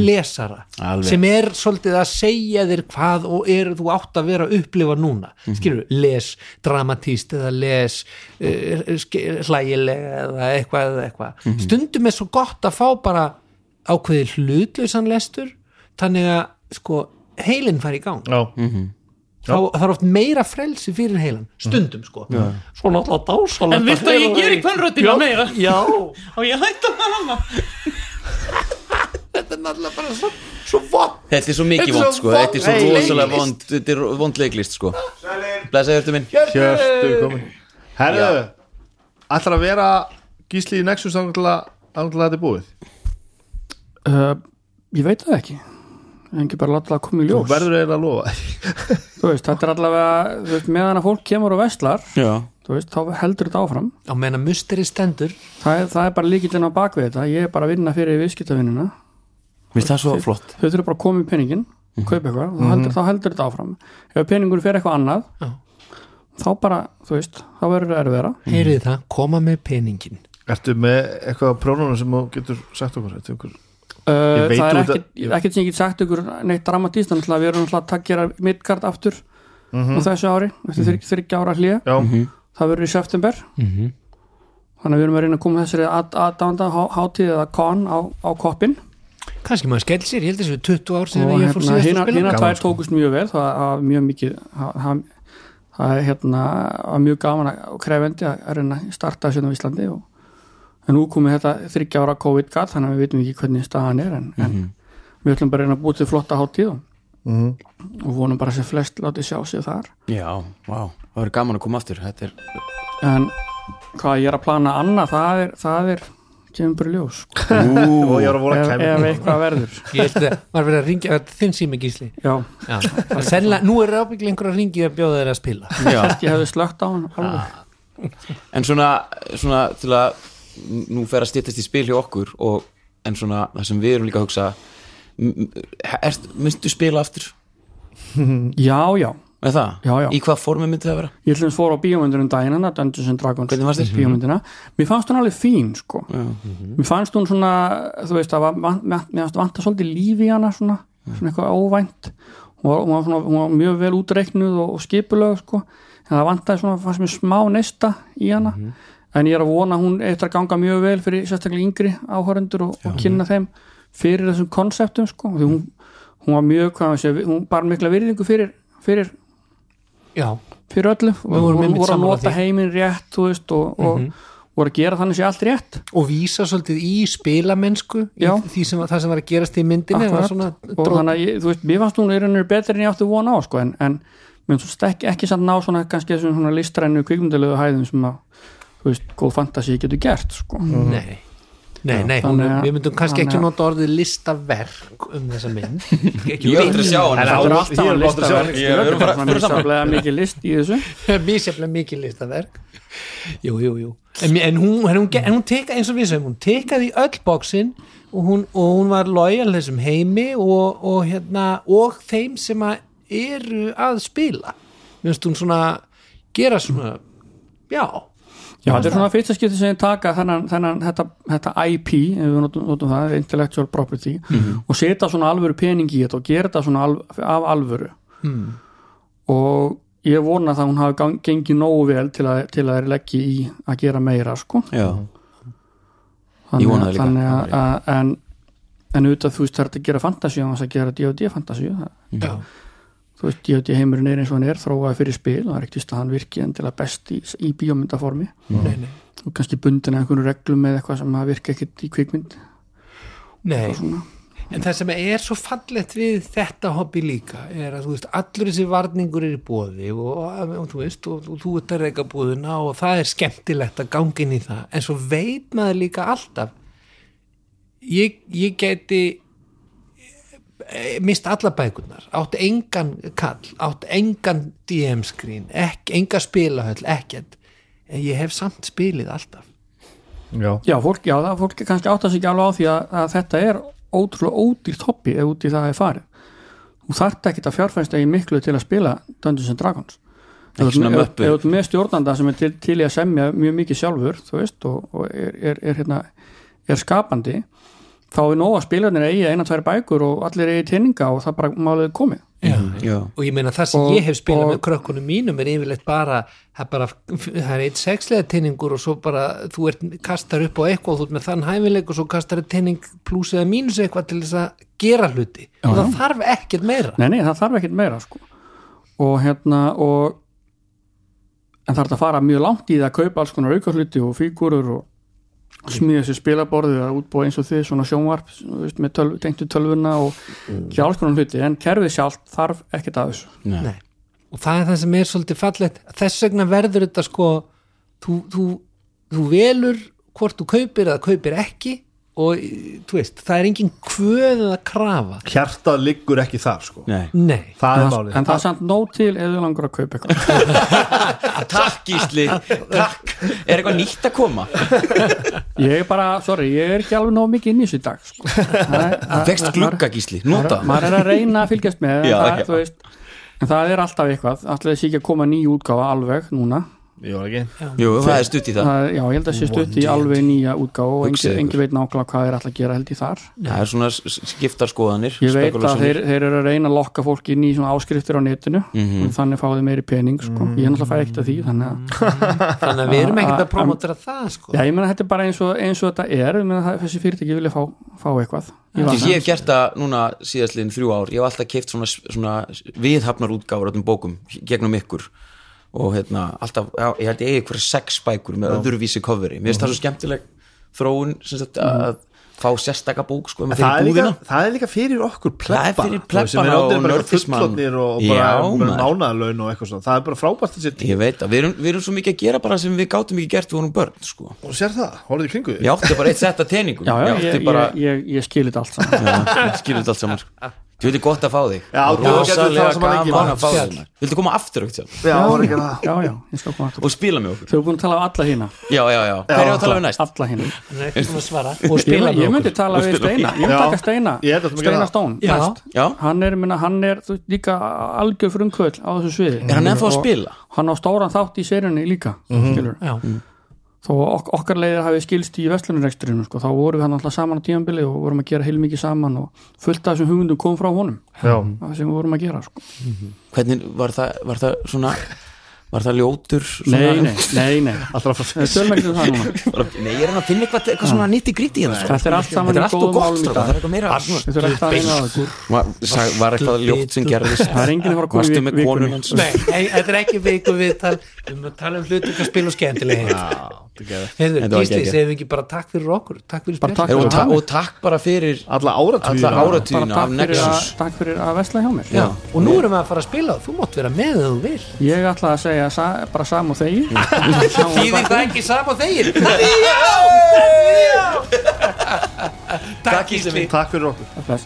A: lesara
D: Alveg.
A: sem er svolítið að segja þér hvað og er þú átt að vera að upplifa núna mm les dramatíst eða les eh, ske- hlægilega eða eitthvað, eða eitthvað. stundum er svo gott að fá bara ákveðið hlutlausan lestur þannig að sko heilin fari í gang
B: já,
A: þá, það er oft meira frelsi fyrir heilan stundum sko svo náttúrulega dásalegt
E: En viltu að ég geri kvenröddina meira?
A: já,
E: Og ég hætti að hana
A: þetta er náttúrulega bara svo, svo vopn
D: Þetta er svo mikið
A: Þetta er
D: vond
A: svo
D: sko, þetta er svo
A: vond
D: rosalega
A: leiklist.
D: vond Þetta er vond leiklist sko Blessaði hörtu minn
B: hjörtu komin Herðu, ætlar að vera gísli í Nexus þannig til að þannig til að þetta er búið
C: uh, ég veit það ekki engi bara láta það koma í
B: Þú
C: ljós
B: verður eiginlega að lofa
C: þú veist, þetta er allavega þú veist, meðan að fólk kemur og veslar
D: Já
C: þú veist, þá heldur þetta áfram
A: á meina musteri stendur
C: það, er- það er bara líkillin á bakvið þetta ég er bara að vinna fyrir viðskiptavinnina
D: Mér það svo flott
C: þau þurfum bara að koma í peningin kaupa eitthvað, þá heldur, þá heldur þetta áfram ef peningur fer eitthvað annað
A: Já.
C: þá bara, þú veist, þá verður það erfiðara
A: heyrið það, koma með peningin
B: Ertu með eitthvað prónunum sem þú getur sagt okkur? Ertu einhver- Ég
C: Uh,
B: veit
C: það er
B: út að-
C: ekkit, ekkit sem ég get sagt ykkur neitt dramatíst, þannig að við erum alltaf að takkjara midgard aftur á þessu ári eftir mm -hmm. þryggja ára hlýja
B: Já,
C: það verður í september
B: Mhm.
C: þannig að við erum að reyna að koma þessari að- aðdánda há- hátíð eða kon á, á koppin
A: kannski maður skell sér, ég held þessu 20 ár
C: og
A: sem ég fór
C: hérna,
A: síðast að
C: hérna,
A: spila
C: hérna
B: Gaman,
C: tvær
B: sko.
C: tókust mjög vel það var mjög mikið það það- það er hérna var mjög gaman að- og krefendi að að reyna að starta þessu hérna á Íslandi og, en nú komið þetta þryggja ára covid gat þannig að við veitum ekki hvernig staðan er en,
B: Mhm.
C: en við ætlum bara að reyna að búið til flotta hátíð og,
A: Mhm.
C: og vonum bara sem flest látið sjá sig þar
D: Já, vá, það verður gaman að koma aftur Þetta er
C: en hvað ég er að plana annað það er, það er kemur bara í ljós sko.
B: og ég var að vola
C: ef,
B: að
C: ef
B: kemja
C: eitthvað verður
A: ég held að maður verið að ringja þetta er þinn sími gísli
C: já,
A: Já, það er sennilega, nú er ábygglega einhver að ringja að bjóða þeir að spila
C: þess ég hefði slögt á hann alveg.
D: En svona, svona til að nú fer að stýttast í spil hjá okkur og, en svona það sem við erum líka að hugsa m- m- ert, myndu spila aftur
C: já, já,
D: með það?
C: Já, já.
D: Í hvað formi myndi það vera?
C: ég ætlum fór á bíómyndunum dæinana, hérna, Dungeons and Dragons
D: Hvernig fannst þér?
C: bíómyndina, mér fannst hún alveg fín sko, mér fannst hún svona þú veist, það var, van- mér mér fannst vanta svolítið lífi í hana svona, svona eitthvað óvænt hún var, hún var, svona, hún var mjög vel útreiknuð og, og skipulög sko, en það vantaði svona, fannst mér smá neista í hana
D: Mhm.
C: en ég er að vona að hún eftir að ganga mjög vel fyrir sérstaklega yngri áhörendur og, og kynna þeim fyrir þessum konseptum sko, því hún, hún var mjög, hvað maður sé, hún bar mikla virðingu fyrir, fyrir
A: Já,
C: fyrir öllu og
A: vorum
C: voru,
A: einmitt
C: voru að
A: sammála
C: nota
A: því. Mhm.
C: heiminn rétt þú veist, og, og voru að gera þannig sé allt rétt
A: og vísa svolítið í spilamennsku í
C: Já.
A: því sem, það sem var að gerast í myndinni var
C: Akkurat.
A: svona,
C: og þannig að ég, þú veist, mér fannst hún er ennur betri en ég átti von á sko, en, en mér finnst hún ekki, ekki samt ná svona kannski þessum svona listrænu kvikmyndalegu hæðum sem að þú veist, góð fantasi getur gert sko.
A: Nei, nei, nei hún,
C: Þannig að-
A: við myndum kannski
C: þannig
A: ekki
C: að-
A: nota orðið listaverk um þessa mynd
D: Ég er aldrei að sjá
C: en
D: hann
C: það
B: á-
C: er alltaf
B: hér
C: að
B: er gott að sjá.
C: listaverk
D: Ég- við erum bara-
C: það er misaflega mikið list í þessu
A: [laughs] mísjaflega mikið listaverk Jú, jú, jú En, en hún, en hún, ge- en hún teka, eins og við sem hún tekaði í öll bóksin og hún, og hún var lojal þessum heimi og, og, hérna, og þeim sem að eru að spila minnst hún svona gera svona já,
C: Já, þetta er svona fyrsta skipti sem ég taka þennan, þennan þetta, þetta IP ef við notum, notum það, intellectual property
D: Mhm.
C: og setja svona alvöru pening í þetta og gera þetta svona alv af alvöru
D: Hmm.
C: og ég vona að hún hafi gang, gengið nógu vel til að, til að þeir leggji í að gera meira sko
D: Já, Ég vona það líka.
C: þannig að, að en, en auðvitað þú veist það er hægt að gera fantasíu og það gera D&D fantasíu það
A: já.
C: þú veist, D&D heimurinn er eins og hann er þróaði fyrir spil og það er ekkert víst að hann virki endilega best í, í bíómyndaformi
A: Nei, nei.
C: og kannski bundin að einhvern reglum eða eitthvað sem að virka ekkert í kvikmynd
A: Nei,
C: svona.
A: en það sem er svo fallegt við þetta hobby líka er að þú veist, allur þessi varningur er í bóði og, og, og þú veist, og, og þú ert að reyka búðuna og það er skemmtilegt að ganga inn í það, en svo veit maður líka alltaf ég, ég geti eh, mist alla bækurnar átt engan kall, átt engan DM-skrín, ek, enga spilahöll ekkert, en ég hef samt spilið alltaf
B: já,
C: já, fólk, já, það fólk kannski áttast ekki alveg á því að, að þetta er ótrúlega ódýrt hobby ef út í það er farið þú þarft ekki að fjárfænsta í miklu til að spila Dungeons and Dragons Ef þú ert
D: svona
C: með-
D: möppu.
C: ef þú ert með stjórnanda sem er til, til í að semja mjög mikið sjálfur þú veist, og, og er, er, er, hérna, er skapandi þá er nóg að spilarnir eigi eina tvær bækur og allir eigi teininga og það bara málið er komið
A: Já,
D: já
A: og ég meina það sem
C: Og-
A: ég hef spilað
C: og-
A: með krökkunum mínum er yfirleitt bara það er, bara, það er eitt sexlega tinningur og svo bara þú ert, kastar upp á eitthvað og þú ert með þann hæfileik og svo kastar eitt tinning plus eða mínus eitthvað til þess að gera hluti og það þarf ekkert meira
C: Nei, nei, það þarf ekkert meira sko. og hérna og en þarf þetta að fara mjög langt í það að kaupa alls konar aukasluti og fígurur og smíða sér spilaborðið að útbúa eins og þið svona sjónvarp þú veist, með tölv, tengtu tölvuna og
D: Mm.
C: ekki alls konar hluti en kerfið sjálf þarf ekkert að þessu
D: Nei.
A: Nei. og það er það sem er svolítið fallegt þess vegna verður þetta sko þú, þú, þú velur hvort þú kaupir eða kaupir ekki og þú veist, það er engin kvöð eða krafa
B: hjartað liggur ekki þar sko
D: Nei.
A: Nei,
B: það
C: en
B: er
C: það,
B: málið
C: en það er samt nóg til eða langur að kaupa
D: [laughs]
C: eitthvað
D: Takk Gísli, takk Er eitthvað nýtt að koma?
C: ég er bara, sorry, ég er ekki alveg nóg mikið inn í þessu í dag
D: [laughs]
C: sko. það,
D: Vekst glugga Gísli, nota
C: maður er að reyna að fylgjast með en,
D: Já,
C: það,
D: já.
C: þú veist, en það er alltaf eitthvað alltaf þessi ekki að koma ný útgáfa alveg núna
B: ég var ekki
D: Jú, það er stutt í það
C: það, já, ég held að sé stutt í alveg nýja útgáfa og
D: Hugsið
C: engin,
D: ykkur.
C: engin veit nákvæmlega hvað þeir alltaf að gera held í þar
D: Það er svona s- skiptar skoðanir
C: ég veit að
D: spekulationir.
C: þeir, þeir eru að reyna að lokka fólk inn í svona áskriftir á netinu
D: Mhm.
C: og þannig fá þau meiri pening sko.
B: Mhm.
C: ég er náttúrulega fæ ekkert að því þannig að
D: Mm.
A: þannig að við erum ekkert að promotera það sko.
C: já, ég meina þetta er bara eins og, eins og þetta er ég meina, það- þessi fyrirtæki vilja fá, fá eitthvað ég
D: Ég, ég hef gert það núna síðastliðin þrjú ár ég hef alltaf keift svona, svona viðhafnar útgáfur öllum bókum gegnum ykkur og hérna alltaf, já, ég
C: Mhm.
D: held ég eigi ykkur sex bækur með öðruvísi coveri, mér finnst það svo skemmtileg þróun sem sagt að fá sérstaka bók sko, ef maður
B: það er,
D: fer í
B: líka,
D: búðina.
B: það er líka fyrir okkur
D: Það
B: plebba
D: er fyrir
B: sem
D: plebbana
B: er
D: og
B: orðnir bara eitthvað
D: nördismann.
B: fullorðnir og
D: Já,
B: bara
D: maður.
B: mánaðalaun og eitthvað svona það er bara frábært þessi tíma
D: ég veit að við erum, við erum svo mikið að gera bara sem við gátum ekki gert við vorum börn sko.
B: og sér það, horfðu í kringu þig
D: ég átti bara eitt sett að teiningum
C: já, já,
D: ég átti
C: ég,
D: bara,
C: ég, ég, ég skil þetta allt saman
D: ég... skilur þetta allt saman sko. þú veitir gott að fá þig
B: Já,
D: Og
B: þú getur
D: rosalega
B: talað saman lengi,
D: gaman að fá
A: maður.
D: þig viltu koma aftur aukt sjálf
B: já, voru ekki það
C: já, já, ég skal koma aftur
D: og spila með okkur
C: þau eru búin að tala af alla hína
D: já, já, já, hverju á að tala við næst
C: alla hína
A: Nei, ekki svona að svara og
C: ég,
A: spila
C: ég
A: með
C: myndi
A: okkur
C: tala við Steina ég myndi
B: Já.
C: taka Steina,
B: Ég held að þú myndi
C: Steina
B: gera það.
C: Stón
A: Já.
C: næst.
D: já,
C: hann er, minna, hann er þú, veist, líka algjör frumkvöld á þessu sviði
D: er hann ennþá
C: Og
D: að spila Mhm.
C: hann á stóran þátt í serjunni líka skilur.
A: Já.
C: þó ok okkar leiðir hafi skilst í vestlunarrekturinu sko, þá vorum við hann alltaf saman á tímanbili og vorum að gera heilmikið saman og fullt af þessum hugmyndum kom frá honum
B: já,
C: það sem við vorum að gera sko.
D: hvernig var það, var það svona var það ljótur svona,
C: nei, nei, [laughs] nei, nei
B: alltaf frá
C: Nei,
B: fyrst
C: tölum ekki um það núna
D: Bara- nei, ég er hann að finna eitthvað, eitthvað svona nýtt í gríti hérna, sko.
C: Þetta er allt saman
D: þetta
C: í
D: er allt
C: góðum
D: og gott
C: málum í
D: strákar,
C: dag.
D: það er eitthvað meira
C: Þetta er alltaf að reyna á þetta
D: var, sag, var eitthvað ljótt sem gerðist
C: Það er enginn að fara að koma í
D: Varstu með
C: vikunni.
D: konun hans
A: Nei, nei, þetta er ekki viku viðtal við erum að tala um hluti hvað spil og skemmtileg Heyrðu,
D: Þetta var
A: Gísli,
D: geggjað.
A: segjum við ekki bara takk fyrir okkur takk fyrir
C: Bara
A: spil
C: takk
D: og, ta og takk bara fyrir
B: alla áratugina
D: alla áratugina
C: Bara takk
D: af
C: fyrir, að,
D: Nexus
C: takk fyrir að vesla hjá mér
D: Já.
A: og nú erum við að fara að spila þú mátt vera með þegar þú vil
C: Ég ætla að segja sa bara sam og þegi
A: Þýðir það ekki sama þegir Takk
D: Gísli
A: Gísli
D: minn.
B: takk fyrir okkur
C: Bless.